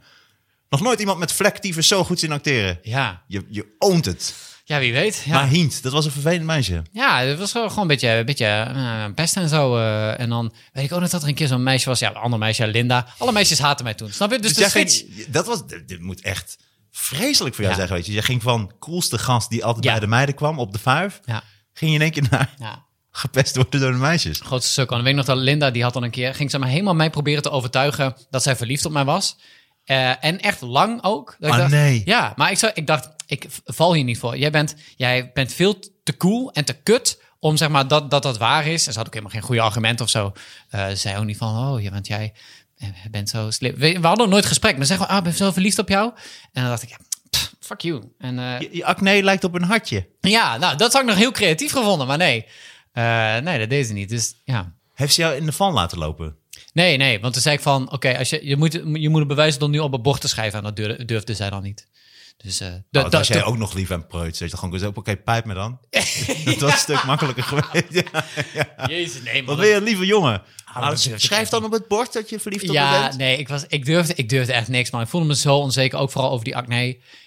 Nog nooit iemand met vlektyfus zo goed zien acteren.
Ja.
Je, je oont het.
wie weet. Ja.
Maar Hint, dat was een vervelend meisje.
Ja, het was gewoon gewoon een beetje, een beetje eh, pesten en zo. eh, en dan weet ik ook nog dat er een keer zo'n meisje was. Ja, een ander meisje, Linda. Alle meisjes haatten mij toen. Snap je? Dus,
Dus jij
de switch.
ging- dat was, dit, dit moet echt vreselijk voor jou
Ja.
zeggen, weet je. Je ging van coolste gast die altijd
Ja.
bij de meiden kwam op de vuif.
Ja,
Ging je in één keer naar (laughs)
ja.
gepest worden door de meisjes.
Grootste sukkel. En ik weet nog dat Linda, die had dan een keer... ging ze maar helemaal mij proberen te overtuigen dat zij verliefd op mij was. Eh, en echt lang ook. Dat ik
Ah,
dacht-
nee.
Ja, maar ik, zou, ik dacht, ik v- val hier niet voor. Jij bent, jij bent veel te cool en te kut om zeg maar dat dat, dat waar is. En ze had ook helemaal geen goede argument of zo. Eh, ze zei ook niet van, oh, ja, want jij... je bent zo slim. We, we hadden nooit gesprek, maar zeggen we, ah, ik ben zo verliefd op jou. En dan dacht ik, ja, pff, fuck you. En eh,
Je, je acne lijkt op een hartje.
ja, nou, dat had ik nog heel creatief gevonden, maar nee. Eh, nee, dat deed ze niet. Dus ja.
Heeft ze jou in de van laten lopen? Oh,
Nee, nee, want toen zei ik van, oké, als je, je, moet, je moet het bewijzen door nu op een bord te schrijven. En dat durfde, durfde zij dan niet. Dus eh, dat-
Nou, Dat,
dat-
was jij
dat-
ook nog lief en preuts. Dat je gewoon kon zeggen, oké, pijp me
(laughs)
dan. Dat was een stuk makkelijker geweest. Ja.
Jezus, nee, man.
Wat ben je een lieve jongen?
dat
Ah,
durf ik
Schrijf dan op het bord dat je verliefd op me
Ja,
bent.
nee, ik, was, ik, durfde, ik durfde echt niks, maar ik voelde me zo onzeker, ook vooral over die acne.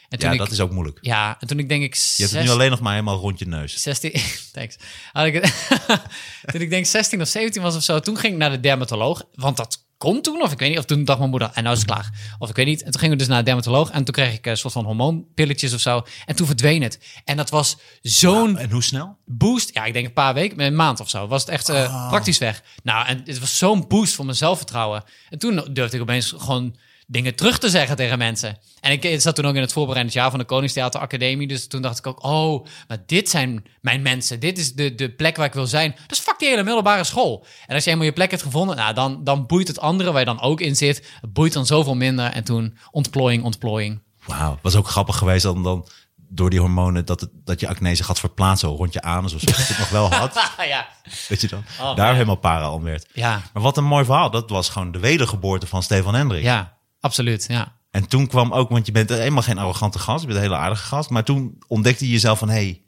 En toen
Ja,
ik,
dat is ook moeilijk.
ja, en toen ik denk ik
Je hebt het
zes-
nu alleen nog maar helemaal rond je neus.
16, (laughs) thanks. Had ik het, (laughs) toen ik denk 16 of 17 was of zo, toen ging ik naar de dermatoloog. Want dat kon toen, of ik weet niet. Of toen dacht mijn moeder, en nou is het klaar. Of ik weet niet. En toen gingen we dus naar de dermatoloog. En toen kreeg ik een soort van hormoonpilletjes of zo. En toen verdween het. En dat was zo'n
En hoe snel?
boost. Ja, ik denk een paar weken, een maand of zo. Was het echt eh, praktisch weg. Nou, en het was zo'n boost voor mijn zelfvertrouwen. En toen durfde ik opeens gewoon dingen terug te zeggen tegen mensen. En ik zat toen ook in het voorbereidend jaar van de Koningstheater Academie. Dus toen dacht ik ook, oh, maar dit zijn mijn mensen. Dit is de, de plek waar ik wil zijn. Dat is fuck die hele middelbare school. En als je eenmaal je plek hebt gevonden, nou, dan, dan boeit het andere waar je dan ook in zit. Het boeit dan zoveel minder. En toen ontplooiing, ontplooiing. (laughs)
Wauw, was ook grappig geweest dan, dan door die hormonen dat, het, dat je acne zich had verplaatsen rond je anus of zo. Dat je het nog wel had,
(laughs) ja.
weet je dan.
man.
Daar helemaal para om werd.
Oh, Ja.
Maar wat een mooi verhaal. Dat was gewoon de wedergeboorte van Stefan Hendrik.
ja, absoluut. Ja.
En toen kwam ook, want je bent helemaal geen arrogante gast, je bent een hele aardige gast. Maar toen ontdekte je jezelf van, hé, hey,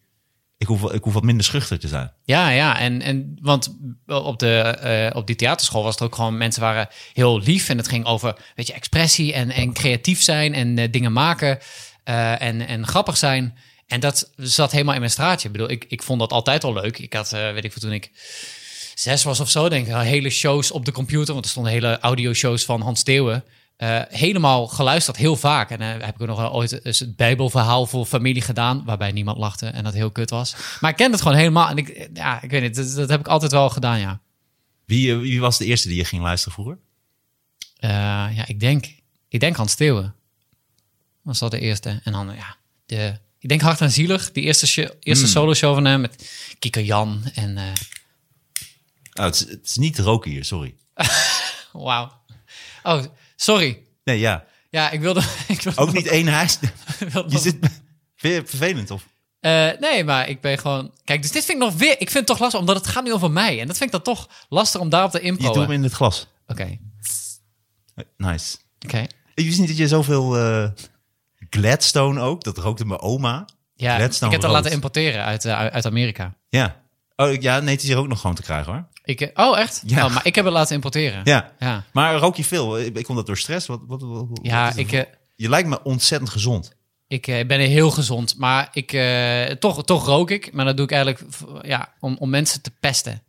ik, hoef, wel- ik hoef wat minder schuchter te zijn.
Ja, ja. En, en, want op, de, eh, op die theaterschool was het ook gewoon... mensen waren heel lief en het ging over weet je, expressie en, en creatief zijn... en eh, dingen maken eh, en, en grappig zijn. En dat zat helemaal in mijn straatje. Ik bedoel, ik, ik vond dat altijd al leuk. Ik had, eh, weet ik veel, toen ik zes was of zo... denk ik, al hele shows op de computer... want er stonden hele audioshows van Hans Theeuwen... eh, helemaal geluisterd, heel vaak. En eh, heb ik ook nog wel ooit eens het Bijbelverhaal voor familie gedaan, waarbij niemand lachte en dat heel kut was. Maar ik kende het gewoon helemaal. En ik, eh, ja, ik weet niet, dat, dat heb ik altijd wel gedaan, ja.
Wie, eh, wie was de eerste die je ging luisteren vroeger?
Eh, ja, ik denk, ik denk Hans Theeuwen. Was dat de eerste? En dan, ja, de, ik denk Hart en Zielig, die eerste, sho- eerste
Hmm.
solo show van hem met Kika Jan en eh,
Oh, het, is, het is niet roken hier, sorry.
wauw. Oh, sorry.
Nee, ja.
Ja, ik wilde... (laughs) Ik wilde
Ook niet één huis. (laughs)
(laughs) wilde-
Je zit... Vind je het vervelend, of?
Eh, nee, maar ik ben gewoon... Kijk, dus dit vind ik nog weer... Ik vind het toch lastig, omdat het gaat nu over mij. En dat vind ik dan toch lastig om daarop te
Je doet hem
improen. Oké,
in het glas.
oké.
Nice. Ik wist niet dat je zoveel... eh, Gladstone ook, dat rookte mijn oma.
Ja, ik
Gladstone
heb dat
rood.
laten importeren uit, eh, uit Amerika.
Ja. Oh, ik- ja, nee, het is hier ook nog gewoon te krijgen, hoor.
Ik, eh, oh, echt?
Ja.
Oh, maar ik heb het laten importeren.
Ja.
Ja,
Maar rook je veel? Ik ik kom dat door stress. Wat, wat, wat- wat-
Ja,
wat is
ik,
het?
eh,
Je lijkt me ontzettend gezond.
ik eh, ben heel gezond, maar ik, eh, toch, toch rook ik. Maar dat doe ik eigenlijk v- ja, om, om mensen te pesten.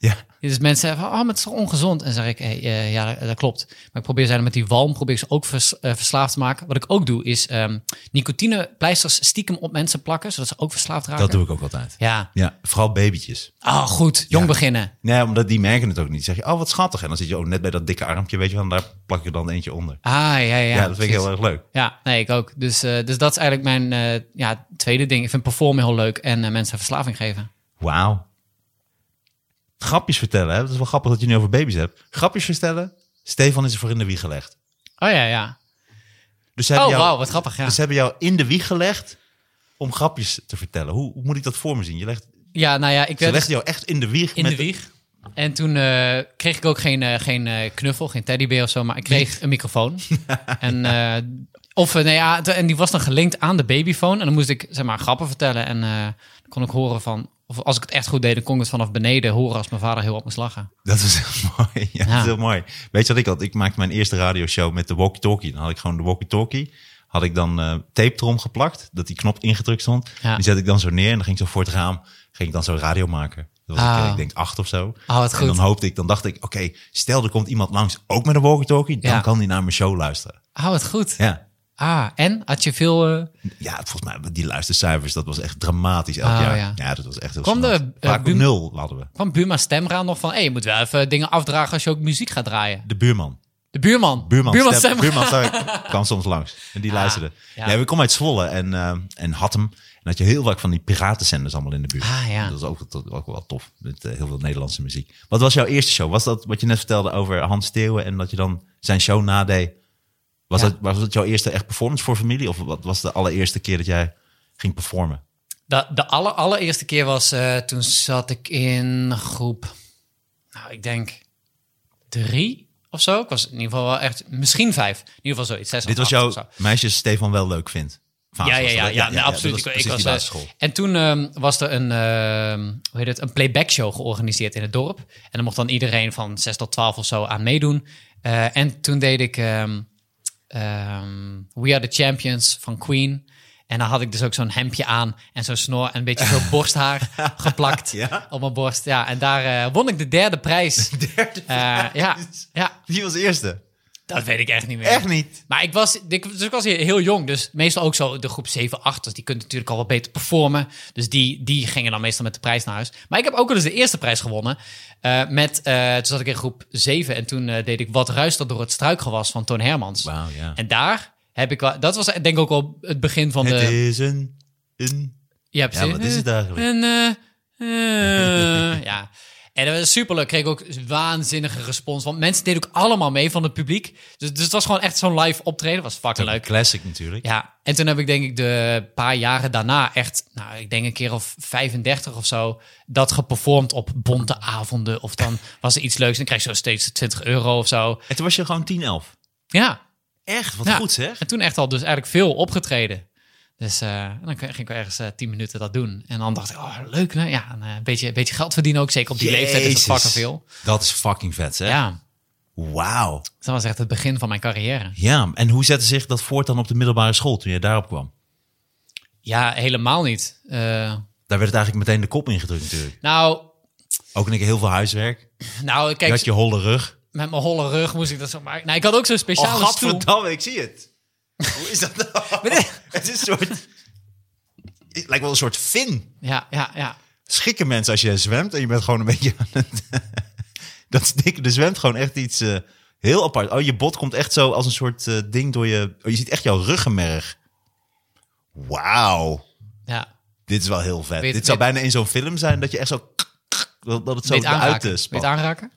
Ja.
Dus mensen zeggen, van, oh, maar het is toch ongezond? En dan zeg ik, hey, eh, ja, dat klopt. Maar ik probeer ze dan met die walm probeer ik ze ook vers- eh, verslaafd te maken. Wat ik ook doe, is ehm nicotinepleisters stiekem op mensen plakken, zodat ze ook verslaafd raken.
Dat doe ik ook altijd.
Ja.
Ja, vooral babytjes.
Oh, goed. Jong beginnen.
Nee, omdat die merken het ook niet. Zeg je, oh wat schattig. En dan zit je ook net bij dat dikke armpje, weet je wel. En daar plak je dan eentje onder.
Ah, ja, ja.
Ja, dat vind ik heel erg leuk.
Ja, nee, ik ook. Dus, eh, dus dat is eigenlijk mijn eh, ja, tweede ding. Ik vind performen heel leuk en eh, mensen verslaving geven.
Wauw. Grapjes vertellen, hè. Dat is wel grappig dat je nu over baby's hebt. Grapjes vertellen. Stefan is ervoor in de wieg gelegd.
Oh ja, ja.
Dus ze
Oh,
hebben jou,
wauw, wat grappig, ja.
dus ze hebben jou in de wieg gelegd om grapjes te vertellen. Hoe, hoe moet ik dat voor me zien? Je legt,
Ja, nou ja, ik
ze
werd dus
legden jou echt in de wieg.
in
met
de wieg. En toen eh, kreeg ik ook geen, eh, geen eh, knuffel, geen teddybeer of zo, maar ik kreeg een
(laughs)
microfoon. en, eh, of, eh, nou ja, de- en die was dan gelinkt aan de babyfoon. En dan moest ik, zeg maar, grappen vertellen. En eh, dan kon ik horen van, of als ik het echt goed deed, dan kon ik het vanaf beneden horen als mijn vader heel op moest lachen.
Dat was heel (laughs) mooi. Ja,
Ja.
Dat is heel mooi. Weet je wat ik had? Ik maakte mijn eerste radioshow met de walkie-talkie. Dan had ik gewoon de walkie-talkie. Had ik dan eh, tape erom geplakt, dat die knop ingedrukt stond.
Ja.
Die zet ik dan zo neer en dan ging ik zo voor het raam, ging ik dan zo radio maken. Dat was ik,
Ah.
eh, ik denk acht of zo.
Ah, wat
En
goed.
dan hoopte ik, dan dacht ik, oké, stel er komt iemand langs, ook met een walkie-talkie, dan
Ja.
kan die naar mijn show luisteren.
Ah, wat goed.
Ja.
Ah, en? Had je veel... eh,
Ja, volgens mij, die luistercijfers, dat was echt dramatisch elk
Ah,
jaar. Ja.
ja.
dat was echt heel
Kwam de,
snel.
eh,
Vaak op
Bum-
nul hadden we.
Van Buma Stemra nog van, hé, je moet wel even dingen afdragen als je ook muziek gaat draaien.
De buurman.
De buurman.
Buurman,
buurman
Stef-
stemmen.
buurman
(laughs)
Stef- kwam soms langs. En die luisterde.
ja.
Nee, we komen uit Zwolle en, eh en Hattem. En had je heel vaak van die piratenzenders allemaal in de buurt.
Ah, ja.
Dat is ook, dat, ook wel tof. Met eh, heel veel Nederlandse muziek. Wat was jouw eerste show? Was dat wat je net vertelde over Hans Steeuwen en dat je dan zijn show nadeed? Was,
Ja.
dat, was dat jouw eerste echt performance voor familie? Of wat was de allereerste keer dat jij ging performen?
De, de aller, allereerste keer was eh, toen zat ik in groep, nou ik denk drie of zo. Ik was in ieder geval wel echt, misschien vijf. In ieder geval zoiets. Zes of
Dit was
acht
jouw
of zo.
meisjes Stefan wel leuk vindt. fase,
Ja, ja,
was
ja,
dat,
ja,
hè?
nee, absoluut.
dat was
ik,
precies
ik was,
die
eh,
basisschool.
en toen ehm, was er een, ehm, hoe heet het, een playback show georganiseerd in het dorp. En dan mocht dan iedereen van 6 tot 12 of zo aan meedoen. Eh, en toen deed ik ehm, ehm, We Are The Champions van Queen. En dan had ik dus ook zo'n hemdje aan en zo'n snor en een beetje
(laughs)
veel borsthaar geplakt
Ja?
op mijn borst. Ja, en daar eh, won ik de derde
(laughs)
prijs.
Derde
Eh, ja, ja,
Wie was de eerste?
dat weet ik echt niet meer.
Echt niet.
Maar ik was, ik, dus ik was heel jong, dus meestal ook zo de groep 7, 8. Dus die kunt natuurlijk al wat beter performen. Dus die, die gingen dan meestal met de prijs naar huis. Maar ik heb ook wel eens de eerste prijs gewonnen. eh, met, eh, toen zat ik in groep 7 en toen eh, deed ik Wat ruist dat door het struikgewas van Toon Hermans.
Wauw, ja.
En daar heb ik wel, dat was denk ik ook wel het begin van
het
de...
is een, een...
Ja,
Ja,
precies.
wat is het eigenlijk?
En, eh, (laughs) eh, ja. En dat was superleuk. Kreeg ik ook waanzinnige respons. Want mensen deden ook allemaal mee van het publiek. Dus, dus het was gewoon echt zo'n live optreden. was fucking leuk.
Classic natuurlijk.
Ja, en toen heb ik denk ik de paar jaren daarna echt, nou ik denk een keer of 35 of zo, dat geperformd op bonte avonden. Of dan was er iets leuks en dan krijg je zo steeds 20 euro of zo.
En toen was je gewoon 10, 11.
Ja,
Echt, wat
Ja.
goed zeg.
en toen echt al dus eigenlijk veel opgetreden. Dus eh, en dan ging ik wel ergens eh, 10 minuten dat doen. En dan dacht ik, oh leuk, hè? ja, en, eh, een beetje, een beetje geld verdienen ook. Zeker op die leeftijd is
Jezus.
dat fucking veel.
Dat is fucking vet zeg.
Ja,
Wauw.
dus dat was echt het begin van mijn carrière.
Ja, en hoe zette zich dat voort dan op de middelbare school toen je daarop kwam?
Ja, helemaal niet. Eh,
Daar werd het eigenlijk meteen de kop ingedrukt natuurlijk.
nou,
Ook en ik heel veel huiswerk.
nou,
Je
kijk,
had je holle rug.
met mijn holle rug moest ik dat zo maken. Nou, ik had ook zo'n
Oh,
speciale stoel.
ik zie het. Hoe is dat
(laughs)
nou? het is een soort... Het lijkt wel een soort fin.
Ja, ja, ja.
schikken mensen als je zwemt en je bent gewoon een beetje aan het... (laughs) dat is dik. Er zwemt gewoon echt iets eh, heel apart. Oh, je bot komt echt zo als een soort eh, ding door je... Oh, je ziet echt jouw ruggenmerg. Wauw.
ja.
Dit is wel heel vet.
Weet-
Dit zou
weet-
bijna in zo'n film zijn dat je echt zo... Dat, dat het zo
Weet
uit
aanraken.
de
Weet
spat.
aanraken?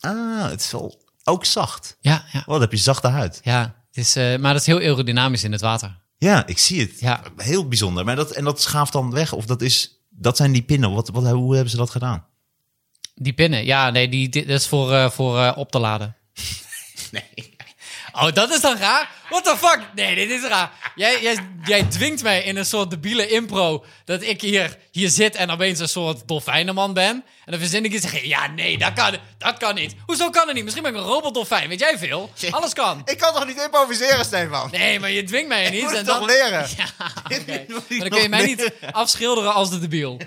Ah, het is wel ook zacht.
Ja, ja.
Oh, dan heb je zachte huid.
ja het is, eh, maar dat is heel aerodynamisch in het water.
Ja, ik zie het.
Ja.
Heel bijzonder. Maar dat, en dat schaaft dan weg. Of dat, is, dat zijn die pinnen. Wat, wat, hoe hebben ze dat gedaan?
Die pinnen, ja, nee, die, die- dat is voor, eh, voor eh, op te
(laughs)
laden. nee. Oh, dat is dan raar? What the fuck? Nee, dit is raar. Jij, jij, jij dwingt mij in een soort debiele impro dat ik hier, hier zit en opeens een soort dolfijnenman ben. En dan verzin ik iets en zeg je, ja, nee, dat kan, dat kan niet. Hoezo kan het niet? Misschien ben ik een robotdolfijn, weet jij veel? Alles kan.
Ik kan toch niet improviseren, Stefan?
Nee, maar je dwingt
(laughs)
mij er niet.
moet
en
het toch
dan-
leren?
Ja,
(laughs)
oké.
moet ik
Maar dan
nog
kun je mij
leren.
niet afschilderen als de debiel.
(laughs)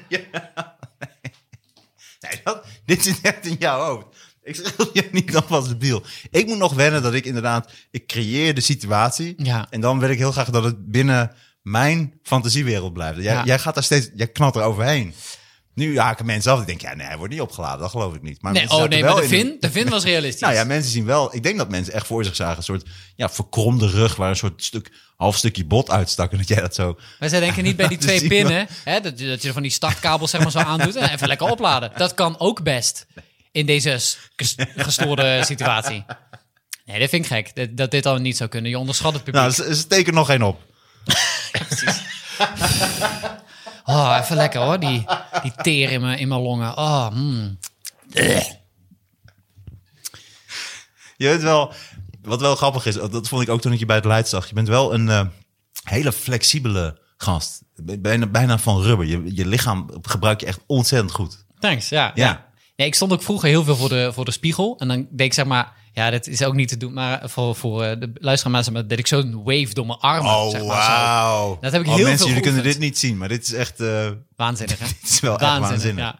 Nee, dat, dit zit echt in jouw hoofd. Ik schreeuw je niet alvast debiel. Ik moet nog wennen dat ik inderdaad... Ik creëer de situatie.
Ja.
En dan wil ik heel graag dat het binnen mijn fantasiewereld blijft. Jij,
Ja.
jij gaat daar steeds... Jij knalt er overheen. Nu haken mensen af. Ik denk, ja, nee, hij wordt niet opgeladen. Dat geloof ik niet. Maar
Nee,
mensen
oh
zaten
nee, maar
wel
de
in een-
vin, de vin was realistisch.
Nou ja, mensen zien wel... Ik denk dat mensen echt voor zich zagen. Een soort ja, verkromde rug waar een soort stuk, half stukje bot uitstak. En dat jij dat zo...
Maar zij denken niet
(laughs)
bij die
Dus
twee
die-
pinnen, hè, dat, je- dat je er van die startkabels zeg maar zo aandoet en even lekker opladen. Dat kan ook best in deze s- ges- gestoorde situatie. Nee, dat vind ik gek, dat, dat dit al niet zou kunnen. Je onderschat het publiek.
Nou, ze, ze tekenen nog geen op.
Oh, even lekker hoor, die, die teer in mijn, in mijn longen. Oh, mm.
Je bent wel, wat wel grappig is, dat vond ik ook toen ik je bij het Leid zag. Je bent wel een eh, hele flexibele gast. Bijna, bijna van rubber. Je, je lichaam gebruik je echt ontzettend goed.
Thanks, ja.
Ja.
Nee, ik stond ook vroeger heel veel voor de, voor de spiegel. En dan deed ik zeg maar, ja, dat is ook niet te doen, maar voor, voor eh, de luisteraar, maar zeg maar, deed ik zo'n wave door mijn armen. zeg maar, zo. Dat heb ik
oh,
heel veel
mensen, jullie kunnen
geoefend.
dit niet zien, maar dit is echt, eh, (laughs)
Waanzinnig, hè?
dit is wel echt waanzinnig.
Ja.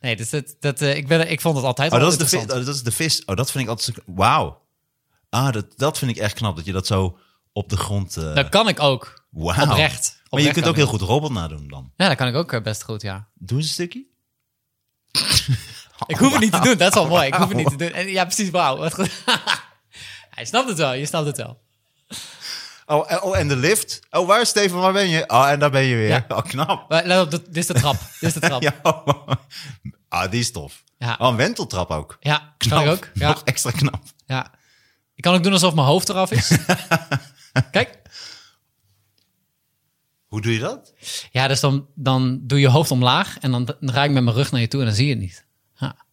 Nee, dus dat, dat, eh, ik, ben, ik vond het altijd
Oh,
wel
dat is, de vis,
interessant.
oh, dat is de vis. Oh, dat vind ik altijd... zo- Wauw. Ah, dat, dat vind ik echt knap, dat je dat zo op de grond... eh
dat kan ik ook.
wauw.
Oprecht.
Maar je
Oprecht
kunt
kan
ook
ik.
heel goed robot nadoen dan.
Ja, dat kan ik ook eh, best goed, ja.
Doe eens een stukje.
Ik hoef het niet te doen, dat is al mooi. Ik hoef het niet te doen. En, ja, precies, wauw. Wat goed. (laughs) Hij snapt het wel, je snapt het wel.
Oh, en- oh, en de lift. Oh, waar Steven, waar ben je? Oh, en daar ben je weer.
Ja.
Oh, knap.
Maar let op, dit dit is de trap. Dit is de trap. Ja,
(laughs) Ja, oh. ah, die is tof.
Ja.
Oh, een wenteltrap ook.
kan ik ook.
(laughs)
Ja,
Nog extra knap.
ja. Ik kan ook doen alsof mijn hoofd eraf
(laughs)
is. Kijk.
Hoe doe je dat?
Ja, dus dan, dan doe je hoofd omlaag en dan draai ik met mijn rug naar je toe en dan zie je het niet. Ja,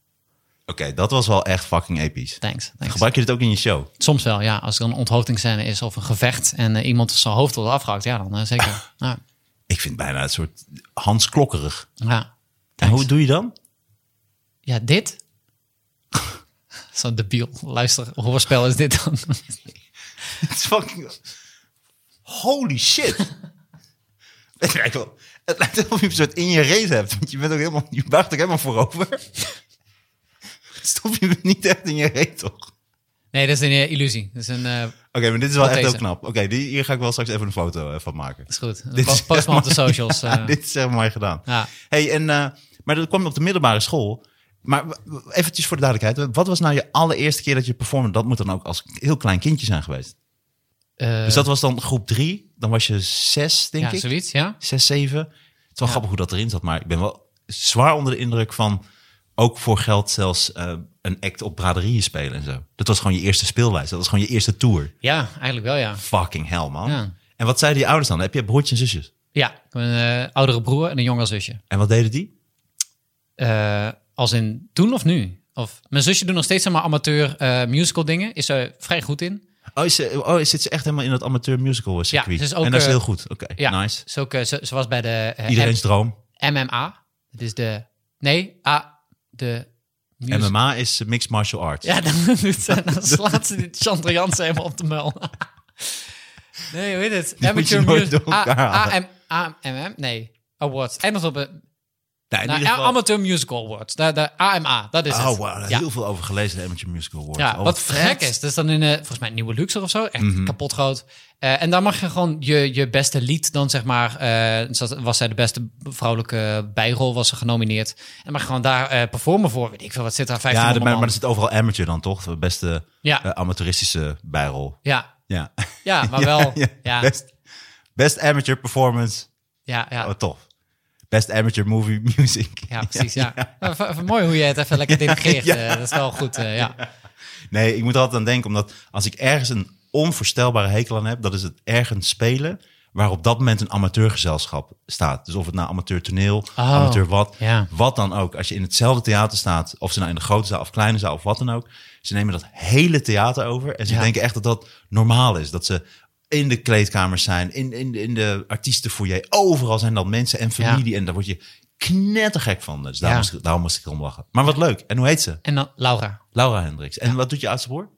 Oké, dat was wel echt fucking episch.
thanks. thanks.
Gebruik je dit ook in je show?
Soms wel, ja. Als er een onthoofdingsscène is of een gevecht en eh, iemand zijn hoofd wordt afgehakt, ja, dan eh,
(laughs)
zeker. Ja,
Ik vind het bijna een soort Hans Klokkerig.
ja.
En hoe doe je dan?
ja dit? (laughs) Zo'n debiel luister hoorspel is dit dan. (laughs)
(laughs) Het is fucking... Holy shit. (laughs) het lijkt wel... Het lijkt wel of je een soort in je race hebt. Want je bent ook helemaal... Je buigt ook helemaal voorover. (laughs) Stop je niet echt in je reet, toch?
nee, dat is een eh, illusie. Dat is een... eh,
Oké, maar dit is wel
Wat
echt
deze?
heel knap. Oké, die hier ga ik wel straks even een foto eh, van maken.
is goed.
Dit
Po-
is (laughs)
Post maar op de
echt mooi
socials.
gedaan.
eh.
dit is echt mooi gedaan.
Ja.
Hey, en, eh, maar dat kwam op de middelbare school. Maar w- w- eventjes voor de duidelijkheid. Wat was nou je allereerste keer dat je performde? Dat moet dan ook als heel klein kindje zijn geweest.
Eh,
Dus dat was dan groep drie. Dan was je zes, denk
ja,
ik.
zoiets, ja.
Zes, zeven. Het is wel
Ja.
grappig hoe dat erin zat. Maar ik ben wel zwaar onder de indruk van... ook voor geld zelfs eh, een act op braderieën spelen en zo. Dat was gewoon je eerste speellijst. Dat was gewoon je eerste tour.
Ja, eigenlijk wel, ja.
Fucking hell, man.
Ja.
En wat zeiden die ouders dan? Heb je broertjes en zusjes?
Ja, ik heb een eh, oudere broer en een jongere zusje.
En wat deden die?
Eh, als in toen of nu? Of mijn zusje doet nog steeds zeg maar amateur eh, musical dingen. Is er vrij goed in.
Oh, is, ze- oh, zit ze echt helemaal in dat amateur musical eh, circuit?
ze is ook,
en dat is
eh,
heel goed. Oké,
Ja,
nice.
Ze, ook, eh, ze, ze was bij de eh,
Iedereen's droom.
M- MMA. Dat is de... Nee, A, de... mus-
MMA is eh, mixed martial arts.
dus- Ja, dan, (laughs) doet ze-
(laughs)
dan slaat ze dit Chandra Jansen helemaal op de muil. (laughs) nee, hoe heet het?
Die moet je
Amateur
nooit
mus-
door elkaar
A-
halen.
A- M- AMM? Nee. Awards. Eindigt op een...
Nou, in
nou,
ieder geval-
Amateur Musical Awards. De, de AMA, dat is
Oh,
het.
wow, daar
Ja.
heel veel over gelezen, de Amateur Musical Awards.
Ja,
Oh,
wat
vet.
gek is. Dat is dan in, eh, volgens mij, een Nieuwe Luxor of zo. Echt
Mhm.
kapot groot. Eh, en daar mag je gewoon je, je beste lied dan, zeg maar... eh, ze- was zij de beste vrouwelijke bijrol, was ze genomineerd. En mag je gewoon daar eh, performen voor. Weet ik veel, wat zit daar?
Ja,
1500
de- maar, maar
man.
er zit overal amateur dan, toch? De beste
Ja.
eh, amateuristische bijrol.
Ja,
(laughs) Ja,
ja, maar
Ja,
wel...
ja.
Ja, ja,
Best, best amateur performance.
ja, ja,
Oh, tof. Best amateur movie (laughs) music.
precies, ja. Maar v- v- mooi hoe je het even lekker
(laughs)
delegeert.
Ja.
eh, dat is wel goed, eh, ja.
Nee, ik moet er altijd aan denken, omdat als ik ergens een onvoorstelbare hekel aan heb, dat is het ergens spelen waar op dat moment een amateurgezelschap staat. Dus of het nou amateur toneel, amateur wat,
Oh, ja.
wat dan ook. Als je in hetzelfde theater staat, of ze nou in de grote zaal of kleine zaal of wat dan ook, ze nemen dat hele theater over en ze
Ja.
denken echt dat dat normaal is. Dat ze in de kleedkamers zijn, in, in, in de artiestenfoyer, overal zijn dat mensen en familie en daar word je knettergek van. Dus daarom,
Ja.
moest, ik- daarom moest ik erom lachen. Maar wat leuk. En hoe heet ze?
En dan Laura.
Laura Hendricks. En wat doet je oudste broer?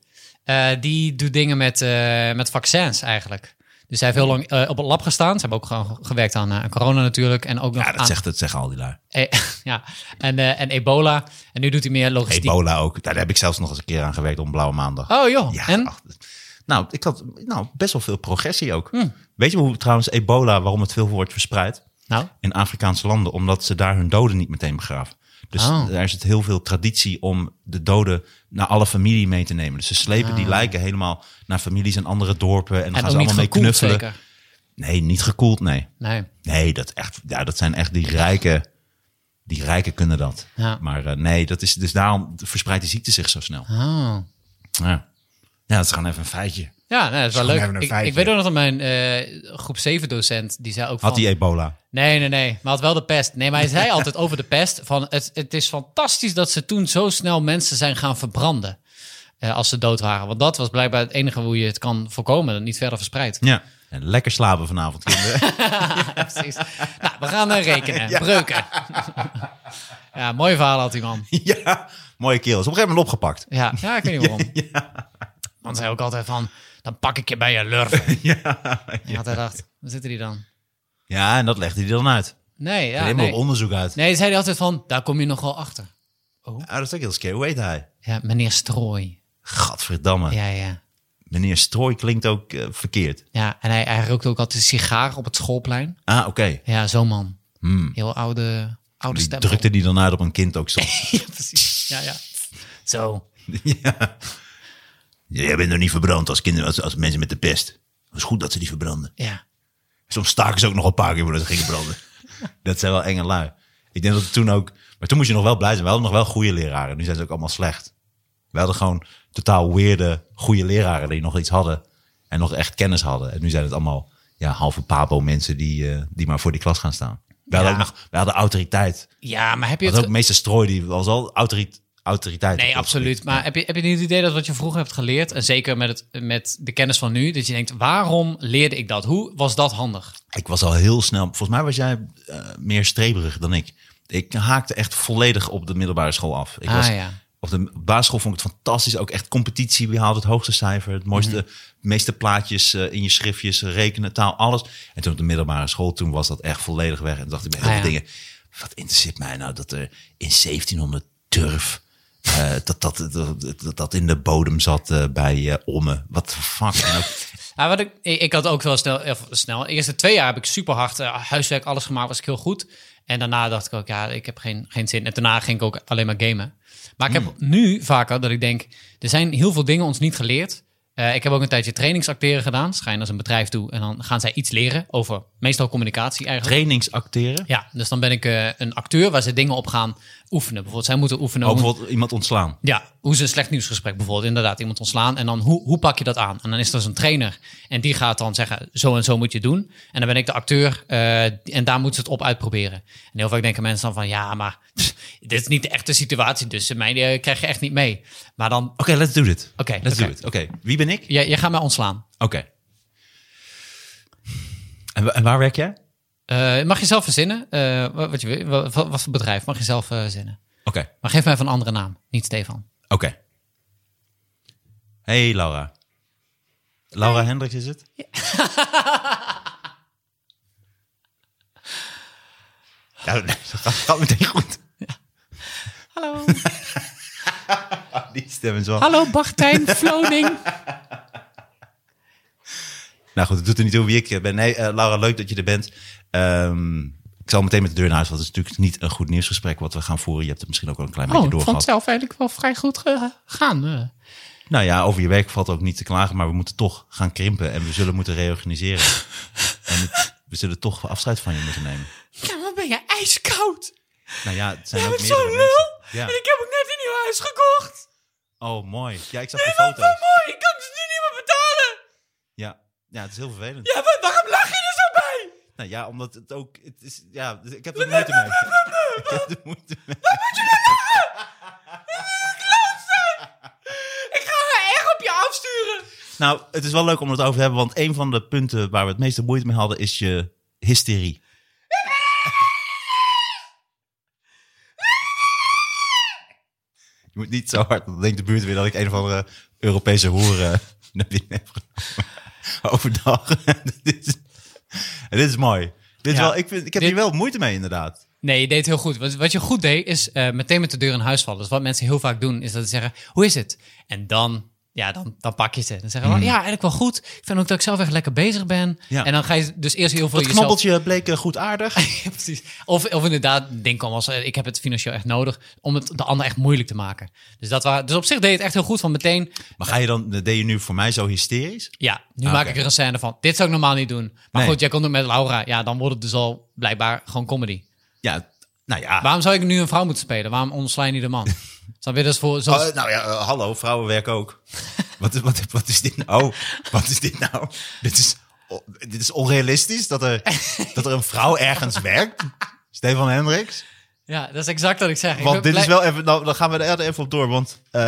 Eh, die doet dingen met, eh, met vaccins eigenlijk. Dus hij heeft heel lang eh, op het lab gestaan. Ze hebben ook gewoon gewerkt aan eh, corona natuurlijk. En ook nog
Ja, dat,
aan,
zegt, dat zeggen al die lui.
eh, (laughs) ja, en, eh, en ebola. En nu doet hij meer logistiek.
Ebola ook. Daar heb ik zelfs nog eens een keer aan gewerkt om Blauwe Maandag.
Dus Oh joh,
Ja,
en?
ach, nou, ik had nou, best wel veel progressie ook.
Hmm.
Weet je hoe trouwens ebola, waarom het veel wordt verspreid?
Nou,
In Afrikaanse landen, omdat ze daar hun doden niet meteen begraven. Dus
Oh.
daar zit heel veel traditie om de doden naar alle familie mee te nemen. Dus ze slepen die lijken helemaal naar families en andere dorpen. En dan
Ah. en
gaan ze
ook niet
allemaal mee
gekoeld
knuffelen.
zeker.
Nee, niet gekoeld, nee.
Nee.
Nee, dat, echt, ja, dat zijn echt die rijken. Die rijken kunnen dat.
Ja.
Maar eh, nee, dat is, dus daarom verspreidt de ziekte zich zo snel.
Oh.
Ja. ja, dat is gewoon even een feitje.
Ja, nee, dat is wel
Gewoon
leuk.
even een
Ik,
feitje.
ik weet ook nog dat mijn eh, groep 7 docent, die zei ook
Had
van...
hij ebola?
Nee, nee, nee. Maar had wel de pest. Nee, maar hij zei altijd over de pest. Van het, het is fantastisch dat ze toen zo snel mensen zijn gaan verbranden. eh, als ze dood waren. Want dat was blijkbaar het enige hoe je het kan voorkomen. Dat het niet verder (laughs) verspreidt.
Ja. En lekker slapen vanavond, kinderen.
Ja, precies. Nou, we gaan eh, rekenen. Breuken. (laughs) ja, mooi verhaal had die man.
(laughs) ja, mooie kerel. Is op een gegeven moment (laughs) opgepakt.
Ja, (laughs) ja ik weet niet waarom. Want hij zei ook altijd van... Dan pak ik je bij je lurven. (laughs) ja, En had hij dacht, waar zitten die dan?
Ja, en dat legde hij er dan uit.
Nee, ja,
Helemaal
nee.
op onderzoek uit.
Nee, zei hij altijd van... Daar kom je nog wel achter.
Ah, dat is ook heel scary. Hoe heet hij?
Ja, meneer Strooi.
Gadverdamme.
Ja, ja.
Meneer Strooi klinkt ook eh, verkeerd.
Ja, en hij, hij rookte ook altijd een sigaar op het schoolplein.
Ah, oké.
Ja, zo'n man.
Hmm.
Heel oude, oude
Die
stem.
drukte die dan uit op een kind ook soms.
(laughs) Ja, precies. ja, ja. Zo.
ja. Jij bent nog niet verbrand als, kinderen, als, als mensen met de pest. Het is goed dat ze die verbranden.
Ja.
Soms staken ze ook nog een paar keer voordat ze gingen branden. (laughs) dat zijn wel enge lui. Ik denk dat het toen ook... Maar toen moest je nog wel blij zijn. We hadden nog wel goede leraren. Nu zijn ze ook allemaal slecht. We hadden gewoon totaal weerde goede leraren die nog iets hadden. En nog echt kennis hadden. En nu zijn het allemaal ja, halve pabo mensen die, eh, die maar voor die klas gaan staan. We hadden,
Ja.
ook nog, we hadden autoriteit.
Ja, maar heb je
We hadden
het...
ook
ge-
meester Strooi. Die was al autoriteit. autoriteit op
Nee,
dat
absoluut.
gebied.
Maar heb je, heb je niet het idee dat wat je vroeger hebt geleerd, en zeker met, het, met de kennis van nu, dat je denkt, waarom leerde ik dat? Hoe was dat handig?
Ik was al heel snel. Volgens mij was jij eh, meer streberig dan ik. Ik haakte echt volledig op de middelbare school af. Ik
Ah,
was,
ja.
Op de basisschool vond ik het fantastisch. Ook echt competitie. Wie haalt het hoogste cijfer? Het mooiste,
Mhm.
meeste plaatjes eh, in je schriftjes, rekenen, taal, alles. En toen op de middelbare school, toen was dat echt volledig weg. En toen dacht ik bij heel
Ah,
veel
ja.
dingen. Wat interesseert mij nou dat er in 1700 turf. eh, dat, dat, dat, dat, dat in de bodem zat eh, bij eh, Omme. Wat de
(laughs)
fuck. En ook-
Ja, wat ik, ik ik had ook wel snel, of snel. De eerste twee jaar heb ik super hard huiswerk, alles gemaakt, was ik heel goed. En daarna dacht ik ook, ja, ik heb geen, geen zin. En daarna ging ik ook alleen maar gamen. Maar ik heb nu vaker dat ik denk, er zijn heel veel dingen ons niet geleerd. Eh, ik heb ook een tijdje trainingsacteren gedaan. Schijn als een bedrijf toe. En dan gaan zij iets leren over meestal communicatie eigenlijk.
trainingsacteren.
Ja, dus dan ben ik eh, een acteur waar ze dingen op gaan oefenen. Bijvoorbeeld, zij moeten oefenen.
Ook
om-
bijvoorbeeld iemand ontslaan.
ja, hoe is een slecht nieuwsgesprek bijvoorbeeld? Inderdaad, iemand ontslaan. En dan hoe, hoe pak je dat aan? En dan is er zo'n trainer. En die gaat dan zeggen, zo en zo moet je het doen. En dan ben ik de acteur. eh, en daar moeten ze het op uitproberen. En heel vaak denken mensen dan van, ja, maar pff, dit is niet de echte situatie. Dus mij eh, krijg je echt niet mee. Maar dan,
Oké, let's do it.
Oké,
let's
oké.
do it. Oké, wie ben ik?
jij, jij gaat mij ontslaan.
Oké. En, wa- en waar werk jij? Oké.
Eh, mag je zelf verzinnen? eh, wat, wat je, wil. wat, wat voor bedrijf? Mag je zelf eh, verzinnen?
Oké.
Maar geef mij even een andere naam. Niet Stefan.
Hey Laura. Laura Hendricks is het? (laughs) Ja, dat gaat, gaat meteen goed. (laughs)
Hallo.
Die stem is wel...
Hallo Bartijn Vloning.
Nou goed, het doet er niet toe wie ik ben. Nee, eh, Laura, leuk dat je er bent. Ehm, ik zal meteen met de deur naar huis, want het is natuurlijk niet een goed nieuwsgesprek wat we gaan voeren. Je hebt het misschien ook al een klein beetje
Oh, ik vond
doorgehad.
het zelf eigenlijk wel vrij goed gegaan. eh.
Nou ja, over je werk valt ook niet te klagen, maar we moeten toch gaan krimpen en we zullen moeten reorganiseren.
(laughs)
en het- we zullen toch afscheid van je moeten nemen.
Ja, maar ben je ijskoud?
Nou ja, het zijn
Je
ook
bent
meerdere
zo'n
mensen.
lul.
Ja.
En ik heb ook net een nieuw huis gekocht.
Oh, mooi. Ja, ik zag de
Wat
foto's.
voor mooi. Ik kan ze nu niet meer betalen.
Ja. ja, het is heel vervelend.
Ja, wat, waarom lach je er zo bij?
Nou ja, omdat het ook... Het is, ja, dus ik heb er moeite mee. (laughs) Ik heb er moeite mee.
Ik ga haar erg op je afsturen.
Nou, het is wel leuk om het over te hebben, want een van de punten waar we het meeste moeite mee hadden is je hysterie. Je moet niet zo hard, want dan denkt de buurt weer dat ik een of andere Europese hoer eh, (laughs) naar binnen heb genomen. Overdag. (laughs) dit, is, en dit is mooi. Dit is
Ja.
wel, ik, vind, ik heb
Dit-
hier wel moeite mee, inderdaad.
Nee, je deed het heel goed. Wat, wat je goed deed, is eh, meteen met de deur in huis vallen. Dus wat mensen heel vaak doen, is dat ze zeggen, hoe is het? En dan, ja, dan, dan pak je ze. Dan zeggen we, ja, eigenlijk wel goed. Ik vind ook dat ik zelf echt lekker bezig ben.
Hmm. Ja.
En dan ga je dus eerst heel veel
Het
jezelf...
knabbeltje bleek eh, goed aardig.
(laughs) Ja, precies. Of, of inderdaad, denk dan als eh, ik heb het financieel echt nodig om het de ander echt moeilijk te maken. Dus, dat wa- dus op zich deed je het echt heel goed van meteen.
Maar ga je dan, deed je nu voor mij zo hysterisch?
Ja, nu
Ah,
maak
oké.
ik er een scène van. Dit zou ik normaal niet doen. Maar
Nee.
goed, jij komt ook met Laura. Ja, dan wordt het dus al blijkbaar gewoon comedy.
Ja, nou ja.
Waarom zou ik nu een vrouw moeten spelen? Waarom ontsla je niet de
(laughs)
man? Snap je? Dat is voor zoals...
Oh, nou ja, eh, hallo, vrouwen werken ook.
(laughs)
wat, is- wat, wat is dit nou? Wat is dit nou? Dit is, o- dit is onrealistisch dat
(laughs)
er, dat er een vrouw ergens werkt. Stefan Hendricks.
Ja, dat is exact wat ik zeg. Ik ben
Want dit is
blij-
wel even, nou, dan gaan we er even op door. Want eh,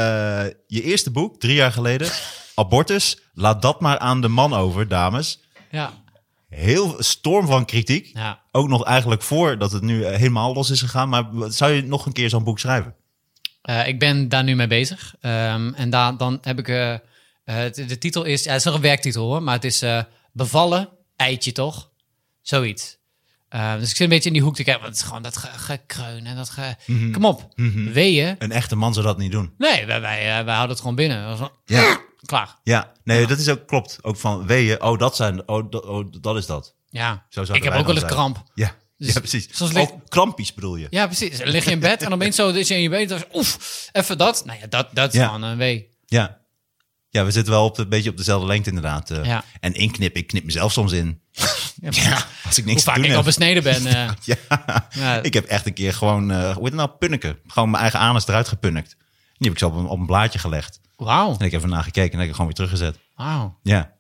je eerste boek, drie jaar
(laughs)
geleden, Abortus, laat dat maar aan de man over, dames.
Ja,
Heel storm van kritiek.
ja.
Ook nog eigenlijk voordat het nu eh, helemaal los is gegaan. Maar w- zou je nog een keer zo'n boek schrijven?
Eh, ik ben daar nu mee bezig. Ehm, en daar, dan heb ik... eh, eh, de, de titel is... Ja, het is nog een werktitel hoor. Maar het is eh, bevallen, eitje toch? Zoiets. Eh, dus ik zit een beetje in die hoek te kijken. Want het is gewoon dat ge- gekreun en dat ge...
Mhm.
Kom op. Weeën.
Een echte man zou dat niet doen.
Nee, wij, wij, eh, wij houden het gewoon binnen. Dat is wel-
Ja.
Klaar.
Ja, nee, dat is ook klopt. Ook van weeën. Oh, dat zijn. Oh, dat, oh, dat is dat.
Ja.
Zo zouden
ik heb
wij
ook wel
dan
eens
zijn.
kramp.
Ja. (laughs)
Dus
ja, precies.
soms
Ook
ligt-
klampies bedoel je.
Ja, precies. Dan lig je in bed en opeens zo is je in je been. Dan is- Oef, even dat. Nou ja, dat, dat is
Ja.
gewoon een wee.
Ja. Ja, we zitten wel op de, een beetje op dezelfde lengte inderdaad. eh.
Ja.
En inknip, ik knip mezelf soms in.
Ja,
Ja, als ik
Hoe
niks te
vaak
doen
ik
heb.
al besneden ben. eh.
(laughs) Ja.
Ja.
Ik heb echt een keer gewoon, eh, hoe heet het nou, punniken. Gewoon mijn eigen anus eruit gepunnikt. Die heb ik zo op een, op een blaadje gelegd.
Wauw,
En ik heb ernaar gekeken en heb ik gewoon weer teruggezet.
wauw.
Ja.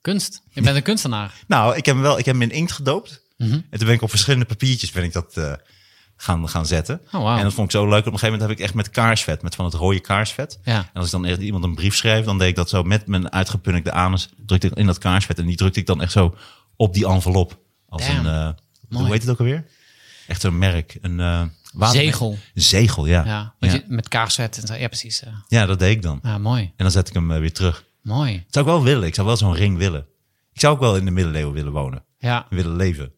Kunst. Je bent een kunstenaar.
Nou, ik heb hem wel, ik heb hem in inkt gedoopt.
Mhm.
En toen ben ik op verschillende papiertjes ben ik dat eh, gaan, gaan zetten.
Oh, wauw.
En dat vond ik zo leuk. Op een gegeven moment heb ik echt met kaarsvet, met van het rode kaarsvet.
Ja.
En als ik dan echt iemand een brief schreef, dan deed ik dat zo met mijn uitgepunnikte anus. Drukte ik in dat kaarsvet en die drukte ik dan echt zo op die envelop. Als
Damn.
een, eh, hoe heet het ook alweer? Echt een merk. Een eh, watermerk.
Zegel.
Een zegel, ja.
Ja,
Ja.
want je- met kaarsvet en zo. Ja, precies. eh.
Ja, dat deed ik dan.
Ja, mooi.
En dan zet ik hem eh, weer terug. Dat
Mooi.
zou ik wel willen. Ik zou wel zo'n ring willen. Ik zou ook wel in de middeleeuwen willen wonen
Ja.
willen leven.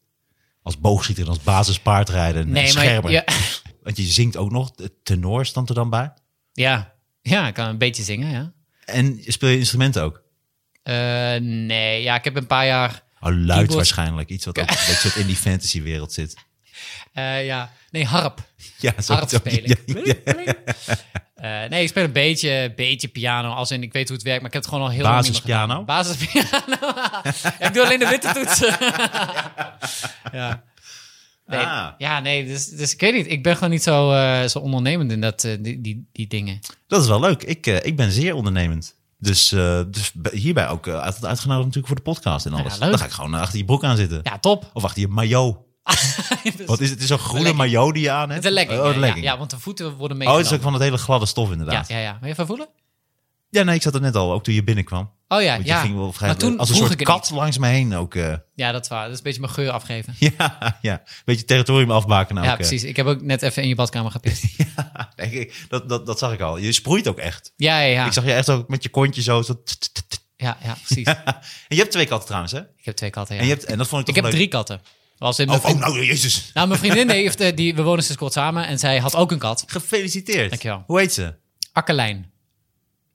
Als boogschieter, en als basispaardrijden, en
Nee, maar...
schermer.
Ja, (laughs)
Want je zingt ook nog, de tenor stond er dan bij.
ja. ja, ik kan een beetje zingen, ja.
En speel je instrumenten ook?
Eh, nee, ja, ik heb een paar jaar...
Oh, luid
Keyboard.
waarschijnlijk. Iets wat ook een beetje in die fantasywereld zit.
eh, ja, nee, harp.
Ja, zo-
Harp
zo-
spelen.
(laughs) ja,
Bling, bling. Eh, nee, ik speel een beetje, beetje piano. Als in, ik weet hoe het werkt, maar ik heb het gewoon al heel lang niet meer
Basispiano?
gedaan. Basispiano. (laughs) Ja, ik doe alleen de witte
(laughs)
toetsen. ja. Nee,
Ah.
Ja, nee, dus, dus ik weet niet. Ik ben gewoon niet zo, eh, zo ondernemend in dat, eh, die, die, die dingen.
Dat is wel leuk. Ik, eh, ik ben zeer ondernemend. Dus, eh, dus b- hierbij ook eh, altijd uitgenodigd natuurlijk voor de podcast en alles.
Ja, leuk.
dan ga ik gewoon eh, achter je broek aan zitten.
Ja, top. (laughs)
Of achter je maillot.
Dus-
Wat is het? Het is zo'n groene
legging.
maillot die je aan hebt.
Het is een legging.
Oh, de
ja,
legging.
Ja, ja, want de voeten worden
oh,
meegenomen.
het is ook van dat hele gladde stof
ja,
inderdaad. Ja,
ja, ja. Wil je even voelen?
nee, ik zat er net al, ook toen je binnenkwam.
Oh ja,
Want je
ja.
ging wel vrij
maar toen
als een
vroeg
soort
ik het
kat langs me heen ook. eh, (laughs)
niet. Ja, dat is waar. Dat is een beetje mijn geur afgeven.
Ah, ja, ja, een beetje territorium afbaken. Ook,
ja,
eh.
precies. Ik heb ook net even in je badkamer
(laughs)
gepist.
Denk (laughs) ik, dat, dat, dat zag ik al. Je sproeit ook echt.
ja, ja, ja.
Ik zag je echt ook met je kontje zo. zo t- t- t- t- (laughs)
Ja, ja, precies.
En je hebt twee katten trouwens, hè?
Ik heb twee katten, ja.
En, je hebt, en dat vond ik
Ik
toch
heb
leuk.
drie dus katten. Was in
Oh,
mijn
oh,
vriend-
nou, jezus.
Nou, mijn vriendin heeft, eh, die, we wonen sinds kort samen en zij had ook een kat.
Gefeliciteerd.
Dankjewel.
Hoe heet ze?
Akkerlijn.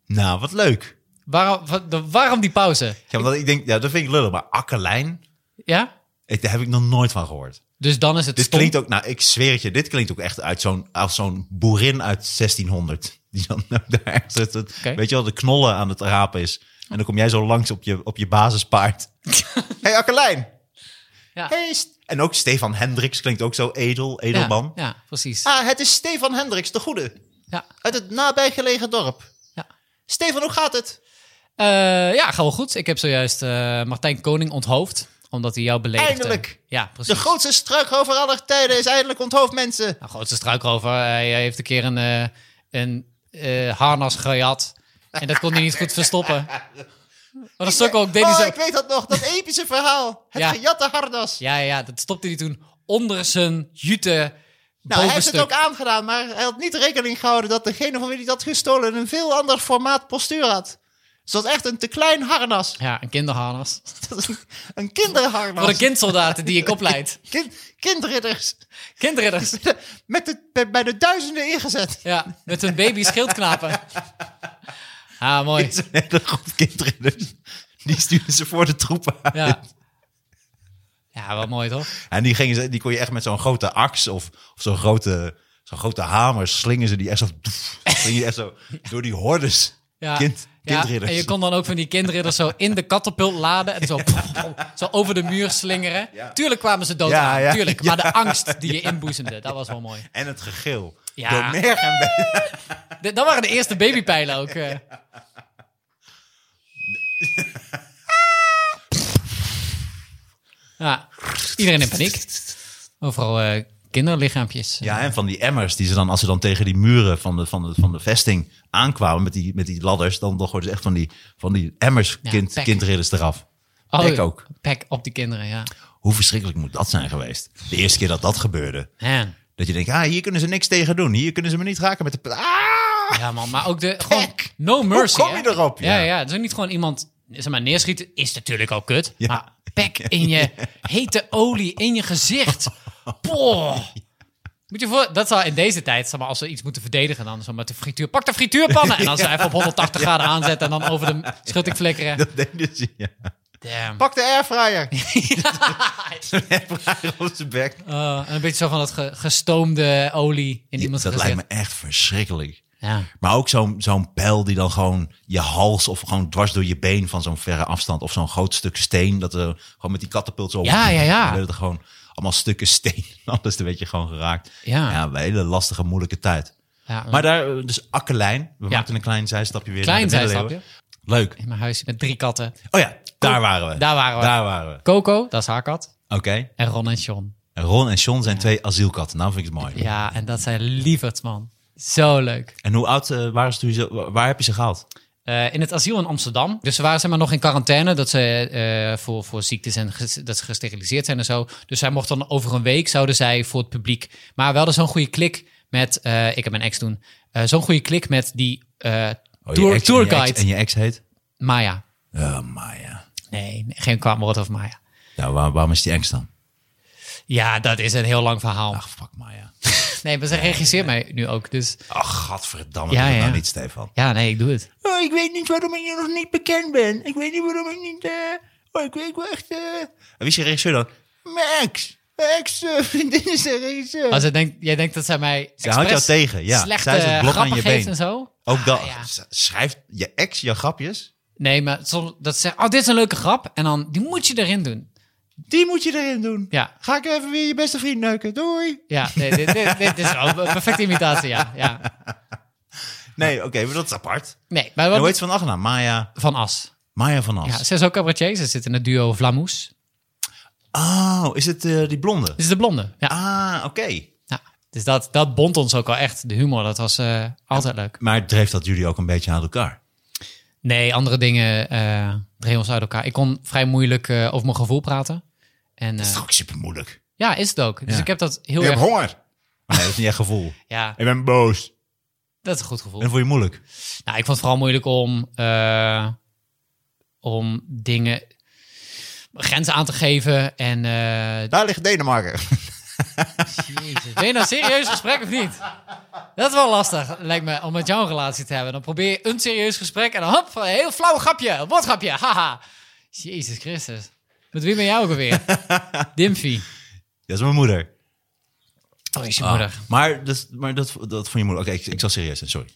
Nou, wat leuk.
Waarom, wa- de- waarom die pauze?
Ja, want ik denk, ja, dat vind ik lullig. Maar akkerlijn,
Ja?
ik- daar heb ik nog nooit van gehoord.
Dus dan is het
Dit
stom.
klinkt ook, nou, ik zweer het je, dit klinkt ook echt uit zo'n, als zo'n boerin uit 1600. (laughs) Die dan ook daar echt zit, het-
Oké.
weet je wel, de knollen aan het rapen is. En dan kom jij zo langs op je, op je
(laughs)
basispaard. hey, Akkerlijn!
Ja.
Hey, St- en ook Stefan Hendricks klinkt ook zo edel,
ja,
edelman.
Ja, precies.
Ah, het is Stefan Hendricks, de goede.
Ja.
Uit het nabijgelegen dorp.
Ja.
Stefan, hoe gaat het?
Eh, ja, gaat wel goed. Ik heb zojuist eh, Martijn Koning onthoofd, omdat hij jou beledigde.
Eindelijk.
Ja, precies.
grootste struikrover aller tijden is eindelijk onthoofd mensen.
Nou, grootste struikrover. Hij eh, heeft een keer een, eh, een eh, harnas gejat. En dat kon hij niet goed
(laughs)
verstoppen. Wat een stuk ook. Deed hij zo...
Oh, weet dat nog, dat epische verhaal. Het
Ja.
gejatte hardas.
Ja, ja, dat stopte hij toen onder zijn jute
Nou,
bovenstuk.
aangedaan, maar hij had niet rekening gehouden dat degene van wie hij dat gestolen een veel ander formaat postuur had. Dus dat echt een te klein harnas. (laughs)
Ja, een kinderharnas.
een kinderharnas.
Voor de kindsoldaten die
(laughs)
ik opleid.
kindridders. (laughs)
Kindridders.
Met de, bij de duizenden ingezet.
Ja, met hun
(laughs)
baby schildknapen. Ah, mooi.
Een hele groep kindridders. Die stuurden ze voor de troepen uit.
Ja. Ja, wel mooi toch?
En die, gingen ze, die kon je echt met zo'n grote aks of, of zo'n grote, zo'n grote hamer slingen ze die echt zo, doef, slingen die echt zo door die hordes.
Ja.
Kind, kindridders.
Ja, en je kon dan ook van die kindridders zo in de katapult laden
(laughs)
en zo, zo over de muur slingeren. Tuurlijk kwamen ze dood
Ja,
aan,
ja,
tuurlijk. Maar de angst die je inboezemde, dat was wel mooi.
En het gegil.
Ja.
Door merg en been.
(laughs) De- dat waren de eerste babypijlen ook. eh. Ja, iedereen in paniek. Overal eh, kinderlichaampjes.
Ja, en van die emmers die ze dan, als ze dan tegen die muren van de, van de, van de vesting aankwamen met die, met die ladders, dan, dan gooiden ze echt van die, van die emmers
Ja,
kind,
pek.
kindridders eraf.
Oh,
Pek ook.
Pek op die kinderen, ja.
Hoe verschrikkelijk moet dat zijn geweest? De eerste keer dat dat gebeurde.
Man.
Dat je denkt, ah, hier kunnen ze niks tegen doen. Hier kunnen ze me niet raken met de... p- Ah!
Ja, man, maar ook de. Gewoon,
Pek.
no mercy.
Hoe kom je
hè?
erop?
Ja,
Ja.
ja, Dus niet gewoon iemand. Zeg maar, neerschieten is natuurlijk al kut.
Ja.
Maar pek in je hete olie, in je gezicht. Poh. Moet je voor, dat zou in deze tijd, zeg maar, als we iets moeten verdedigen, dan zo met de frituur. Pak de frituurpannen en dan ze even op 180 graden aanzetten en dan over de schutting flikkeren.
Dat deden ze, ja.
Damn.
Pak de (laughs) airfryer.
(laughs)
op zijn bek.
Oh, en een beetje zo van dat ge- gestoomde olie in iemands
dat
gezicht.
lijkt me echt verschrikkelijk.
Ja.
Maar ook zo'n zo'n pijl die dan gewoon je hals of gewoon dwars door je been van zo'n verre afstand. Of zo'n groot stuk steen. Dat er gewoon met die katapult zo.
Ja, ja, ja.
Dan werden er gewoon allemaal stukken steen. (laughs) Anders werd je gewoon geraakt.
Ja.
ja een hele lastige, moeilijke tijd.
Ja,
Maar daar, eh, dus Akkerlijn. We
Ja.
maakten een klein zijstapje weer.
Klein
naar de middeleeuwen.
zijstapje.
Leuk.
In mijn huis met drie katten.
Oh ja, daar waren we.
Daar waren we.
Daar waren we.
Coco, dat is haar kat.
Oké.
En Ron en John.
En Ron en Sean zijn twee asielkatten. Nou vind ik het mooi.
Ja, en dat zijn lieverds, man. Zo leuk.
En hoe oud eh, waren ze toen? je ze- Waar heb je ze gehaald?
Eh, in het asiel in Amsterdam. Dus ze waren zeg maar, nog in quarantaine. Dat ze eh, voor, voor ziektes en ges- dat ze gesteriliseerd zijn en zo. Dus zij mochten dan over een week zouden zij voor het publiek. Maar we hadden zo'n goede klik met. eh, ik heb mijn ex toen. eh, zo'n goede klik met die eh
Oh, je
tour,
ex- en je ex-
tourguide.
En je ex heet?
Maya.
Oh, Maya.
Nee, nee, geen kwaad woord over Maya.
Ja, waar- waarom is die ex dan?
Ja, dat is een heel lang verhaal.
Ach, fuck Maya.
Nee, maar ze regisseert mij nu ook. Dus
(laughs) Ach, gadverdamme,
Ja,
doe het
ja.
nou niet, Stefan.
ja, nee, ik doe het.
Oh, ik weet niet waarom ik hier nog niet bekend ben. Ik weet niet waarom ik niet... eh, oh, ik weet wel echt... eh. En Wie is je regisseur dan? Mijn ex. Mijn ex eh, (laughs) vriendin is een regisseur.
Als ze denkt, jij denkt dat zij mij.
Ze houdt jou
expres
tegen, ja.
Slechte
Zij is het blok aan
grappen
je
geeft
been.
en zo. Ah,
Ook dat.
ja.
S- Schrijft je ex je grapjes?
Nee, maar soms dat ze zeggen, oh, dit is een leuke grap. En dan, die moet je erin doen.
Die moet je erin doen.
Ja,
Ga ik even weer je beste vriend neuken. Doei.
ja. Nee, dit, dit, dit is wel een perfecte imitatie, ja. ja.
Nee, oké, maar dat is apart.
Nee, maar
En hoe
wat
heet ze van achternaam? Maya,
van As.
Maya van
Ja,
As.
ze is ook cabaretier. Ze zit in het duo Vlamoes.
Oh, is het eh, die blonde?
Dit is de blonde. Ja.
Ah, oké.
ja. Dus dat, dat bond ons ook al echt. De humor, dat was eh, altijd leuk.
Maar dreef dat jullie ook een beetje aan elkaar?
Nee, andere dingen eh dreven ons uit elkaar. Ik kon vrij moeilijk eh, over mijn gevoel praten. En
Dat is
eh,
toch ook super moeilijk.
ja, is het ook. Dus
Ja.
ik heb dat heel
Ik heb
erg...
honger. Nee, dat is niet echt gevoel.
Ja,
(laughs) Ik ben boos.
dat is een goed gevoel.
En voor je moeilijk.
Nou, ik vond het vooral moeilijk om, eh, om dingen, grenzen aan te geven. En, eh,
Daar ligt Denemarken.
jezus, ben je nou een serieus gesprek of niet? Dat is wel lastig, lijkt me, om met jou een relatie te hebben. Dan probeer je een serieus gesprek en dan hop, een heel flauw grapje, een woordgrapje, haha. Jezus Christus. Met wie ben jij ook
(laughs)
alweer? Dimfy.
Dat is mijn moeder.
Oh, is je moeder.
Ah, maar dat, maar dat, dat vond je moeilijk. Oké, ik, ik zal serieus zijn, sorry.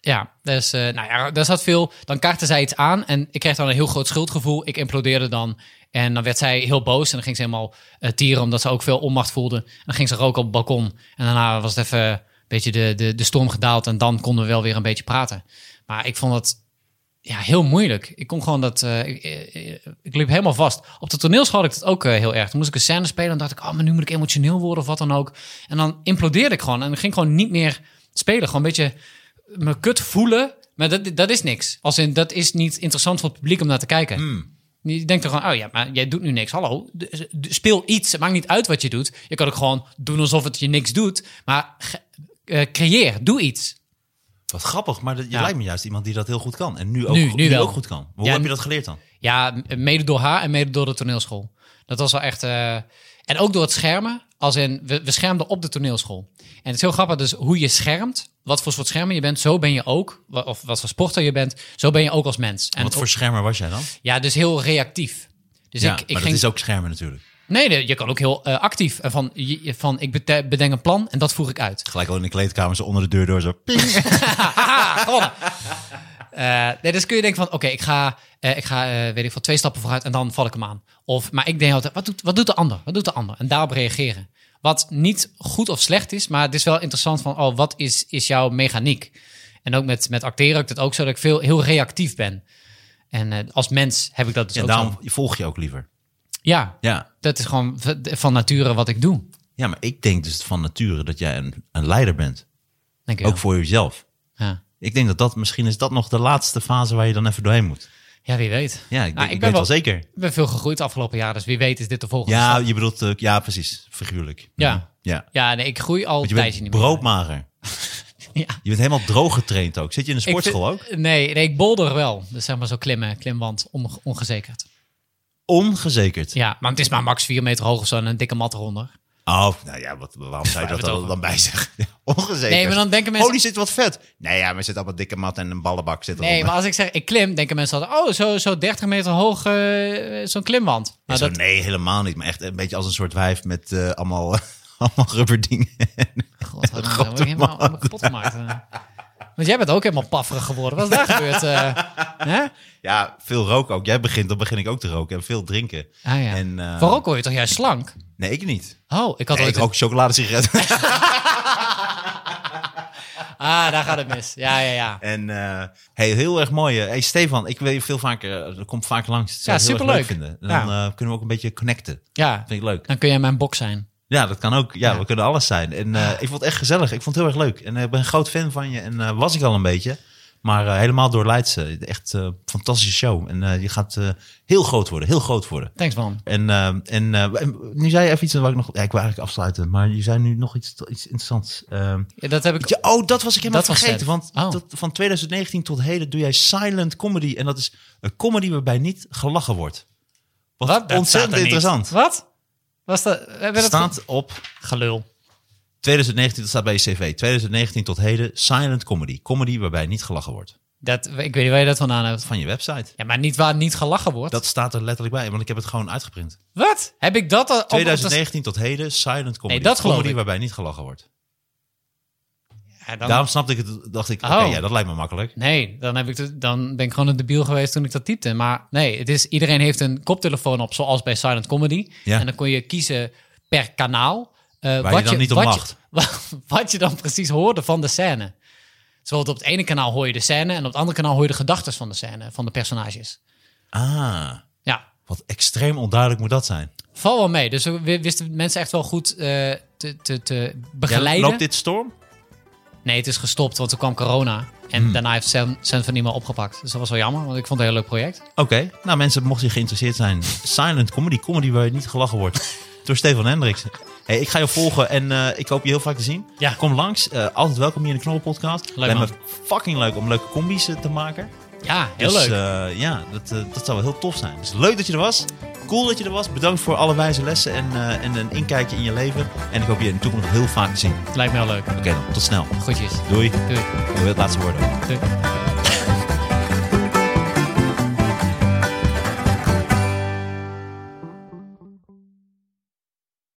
Ja, dus eh, nou ja, daar zat veel. Dan kaartte zij iets aan en ik kreeg dan een heel groot schuldgevoel. Ik implodeerde dan. En dan werd zij heel boos en dan ging ze helemaal eh, tieren omdat ze ook veel onmacht voelde. En dan ging ze roken op het balkon. En daarna was het even een beetje de, de, de storm gedaald en dan konden we wel weer een beetje praten. Maar ik vond dat ja, heel moeilijk. Ik kon gewoon dat. eh, ik, eh, ik liep helemaal vast. Op de toneelschool had ik dat ook eh, heel erg. Toen moest ik een scène spelen en dacht ik, oh, maar nu moet ik emotioneel worden of wat dan ook. En dan implodeerde ik gewoon en ging gewoon niet meer spelen. Gewoon een beetje me kut voelen. Maar dat, dat is niks. Als in, dat is niet interessant voor het publiek om naar te kijken. Je denkt er gewoon, oh ja, maar jij doet nu niks. Hallo, d- d- speel iets. Het maakt niet uit wat je doet. Je kan ook gewoon doen alsof het je niks doet. Maar ge- eh, creëer, doe iets.
Wat grappig, maar dat, je
Ja.
lijkt me juist iemand die dat heel goed kan. En nu ook,
Nu-
go-
nu wel.
ook goed kan. Hoe
Ja,
heb je
en-
dat geleerd dan?
Ja, m- mede door haar en mede door de toneelschool. Dat was wel echt. eh, en ook door het schermen. Als in, we, we schermden op de toneelschool. En het is heel grappig, dus hoe je schermt, wat voor soort schermer je bent, zo ben je ook. wa- Of wat voor sporter je bent, zo ben je ook als mens. En
Wat voor schermer was jij dan?
Ja, dus heel reactief. Dus
ja,
ik,
maar
ik
dat
ging.
is ook schermen natuurlijk.
Nee, nee, je kan ook heel eh, actief. En van, je- je- van, ik bete- bedenk een plan en dat voer ik uit.
Gelijk al in de kleedkamer, zo onder de deur door, zo (laughs) ping.
Haha, (laughs) gewonnen. Eh, nee, dus kun je denken van, oké, ik ga, eh, ik ga eh, weet ik veel, twee stappen vooruit en dan val ik hem aan. Of, maar ik denk altijd, wat doet, wat doet de ander? Wat doet de ander? En daarop reageren. Wat niet goed of slecht is, maar het is wel interessant van, oh, wat is, is jouw mechaniek? En ook met, met acteren heb ik dat ook zo, dat ik veel, heel reactief ben. En eh, als mens heb ik dat dus
En
ook
daarom
zo.
volg je ook liever.
Ja,
Ja.
dat is gewoon v- van nature wat ik doe.
ja, maar ik denk dus van nature dat jij een, een leider bent.
Denk ik
Ook
wel.
voor jezelf.
ja.
Ik denk dat dat misschien is dat nog de laatste fase waar je dan even doorheen moet.
ja, wie weet.
Ja, ik,
Nou,
ik, weet wel, zeker.
Ik ben veel gegroeid de afgelopen jaar, dus wie weet is dit de volgende
Ja,
stap.
je bedoelt, eh, ja, precies, figuurlijk.
Ja.
Mhm. Ja.
Ja, nee, ik groei al
Want je
een tijdje
bent
niet meer.
broodmager.
(laughs) Ja.
Je bent helemaal droog getraind ook. Zit je in de
Ik
sportschool
vind-
ook?
Nee, nee, ik bolder wel. Dus zeg maar zo klimmen, klimwand, onge- ongezekerd.
Ongezekerd.
Ja, maar het is maar max 4 meter hoog of zo en een dikke mat eronder.
Oh, nou ja, wat, waarom zou
Waar hebben
je dat
we het
dan,
over?
dan bij zeggen? (laughs) Ja, Ongezeker.
Nee, maar dan denken mensen-
Holy shit, wat vet. Nee, ja, maar zit allemaal dikke mat en een ballenbak zit
Nee,
eronder.
maar als ik zeg ik klim, denken mensen altijd, oh, zo, zo 30 meter hoog, eh, zo'n klimwand.
Ja,
Maar
zo,
dat,
(laughs) nee, helemaal niet. Maar echt een beetje als een soort wijf met eh, allemaal, (laughs) allemaal rubberdingen.
God, dan word ik helemaal helemaal kapot gemaakt. eh. Want jij bent ook helemaal pafferig geworden. Wat is daar gebeurd?
(laughs)
eh? Hè?
ja, veel rook ook. Jij begint, dan begin ik ook te roken. En veel drinken.
Ah, ja.
En, eh,
Voor ook word je toch juist slank?
Nee, ik niet.
Oh, ik had
Nee,
ooit...
ik
een-
rook
(laughs)
chocoladesigaretten.
Ah, daar gaat het mis. Ja, ja, ja.
en eh, hey, heel erg mooi. eh. Hey, Stefan, ik wil je veel vaker... eh, Kom vaak langs. Dat zou
Ja,
ik heel erg
superleuk.
leuk vinden. En dan eh, kunnen we ook een beetje connecten.
Ja,
Dat vind ik leuk.
dan kun jij mijn bok zijn.
Ja, dat kan ook. Ja,
Ja.
we kunnen alles zijn. En eh, ik vond het echt gezellig. Ik vond het heel erg leuk. En eh, ik ben een groot fan van je. En eh, was ik al een beetje. Maar eh, helemaal door Leidse. Echt eh, fantastische show. En eh, je gaat eh, heel groot worden. Heel groot worden.
Thanks, man.
En, eh, en eh, en nu zei je even iets waar ik nog... Ja, ik wil eigenlijk afsluiten. Maar je zei nu nog iets, iets interessants. Ehm,
Ja, dat heb ik...
ja, oh, dat was ik helemaal
Dat was
vergeten.
het.
Want
Oh.
tot, van 2019 tot heden doe jij silent comedy. En dat is een comedy waarbij niet gelachen wordt. Wat,
Wat? Dat
ontzettend
staat er niet.
interessant.
Wat? Was dat... Hebben we dat
Staat op
Gelul.
2019, dat staat bij je cv. 2019 tot heden, silent comedy. Comedy waarbij niet gelachen wordt.
Dat, ik weet niet waar je dat vandaan hebt.
Van je website.
Ja, maar niet waar niet gelachen wordt.
Dat staat er letterlijk bij, want ik heb het gewoon uitgeprint.
Wat? Heb ik Oh, dat al... op- op-
2019 tot heden, silent comedy.
Nee, dat geloof
comedy
ik.
waarbij niet gelachen wordt.
Ja, dan-
Daarom snapte ik het, dacht ik, oké,
Oh.
ja, dat lijkt me makkelijk.
Nee, dan, heb ik de- dan ben ik gewoon een debiel geweest toen ik dat typte. Maar nee, het is, iedereen heeft een koptelefoon op, zoals bij Silent Comedy.
Ja.
En dan kon je kiezen per kanaal. eh,
Waar je dan niet
wat
om lacht.
Je, (laughs) wat je dan precies hoorde van de scène. Zo op het ene kanaal hoor je de scène... en op het andere kanaal hoor je de gedachten van de scène, van de personages.
Ah,
Ja,
wat extreem onduidelijk moet dat zijn.
val wel mee. Dus we we wisten mensen echt wel goed eh, te, te, te
Ja,
begeleiden.
loopt dit storm?
Nee, het is gestopt, want toen kwam corona. En
Hmm.
daarna heeft Sam, Sam van Niemann opgepakt. Dus dat was wel jammer, want ik vond het een heel leuk project.
Oké, nou mensen, mocht je geïnteresseerd zijn, silent comedy. Comedy waarbij niet gelachen
(laughs)
wordt. Door Stefan Hendricks. Hey, ik ga je volgen en eh, ik hoop je heel vaak te zien.
Ja.
Kom langs. Eh, altijd welkom hier in de Knorrelpodcast. Het Lijkt me
man.
fucking leuk om leuke combi's eh, te maken.
Ja, heel
Dus,
leuk.
eh, ja, dat, eh, dat zou wel heel tof zijn. Dus leuk dat je er was. Cool dat je er was. Bedankt voor alle wijze lessen en, eh, en een inkijkje in je leven. En ik hoop je in de toekomst nog heel vaak te zien. Oké
Lijkt me wel leuk.
dan, tot snel.
Goedjes.
Doei.
Doei.
Ik wil het laatste woord.
Doei.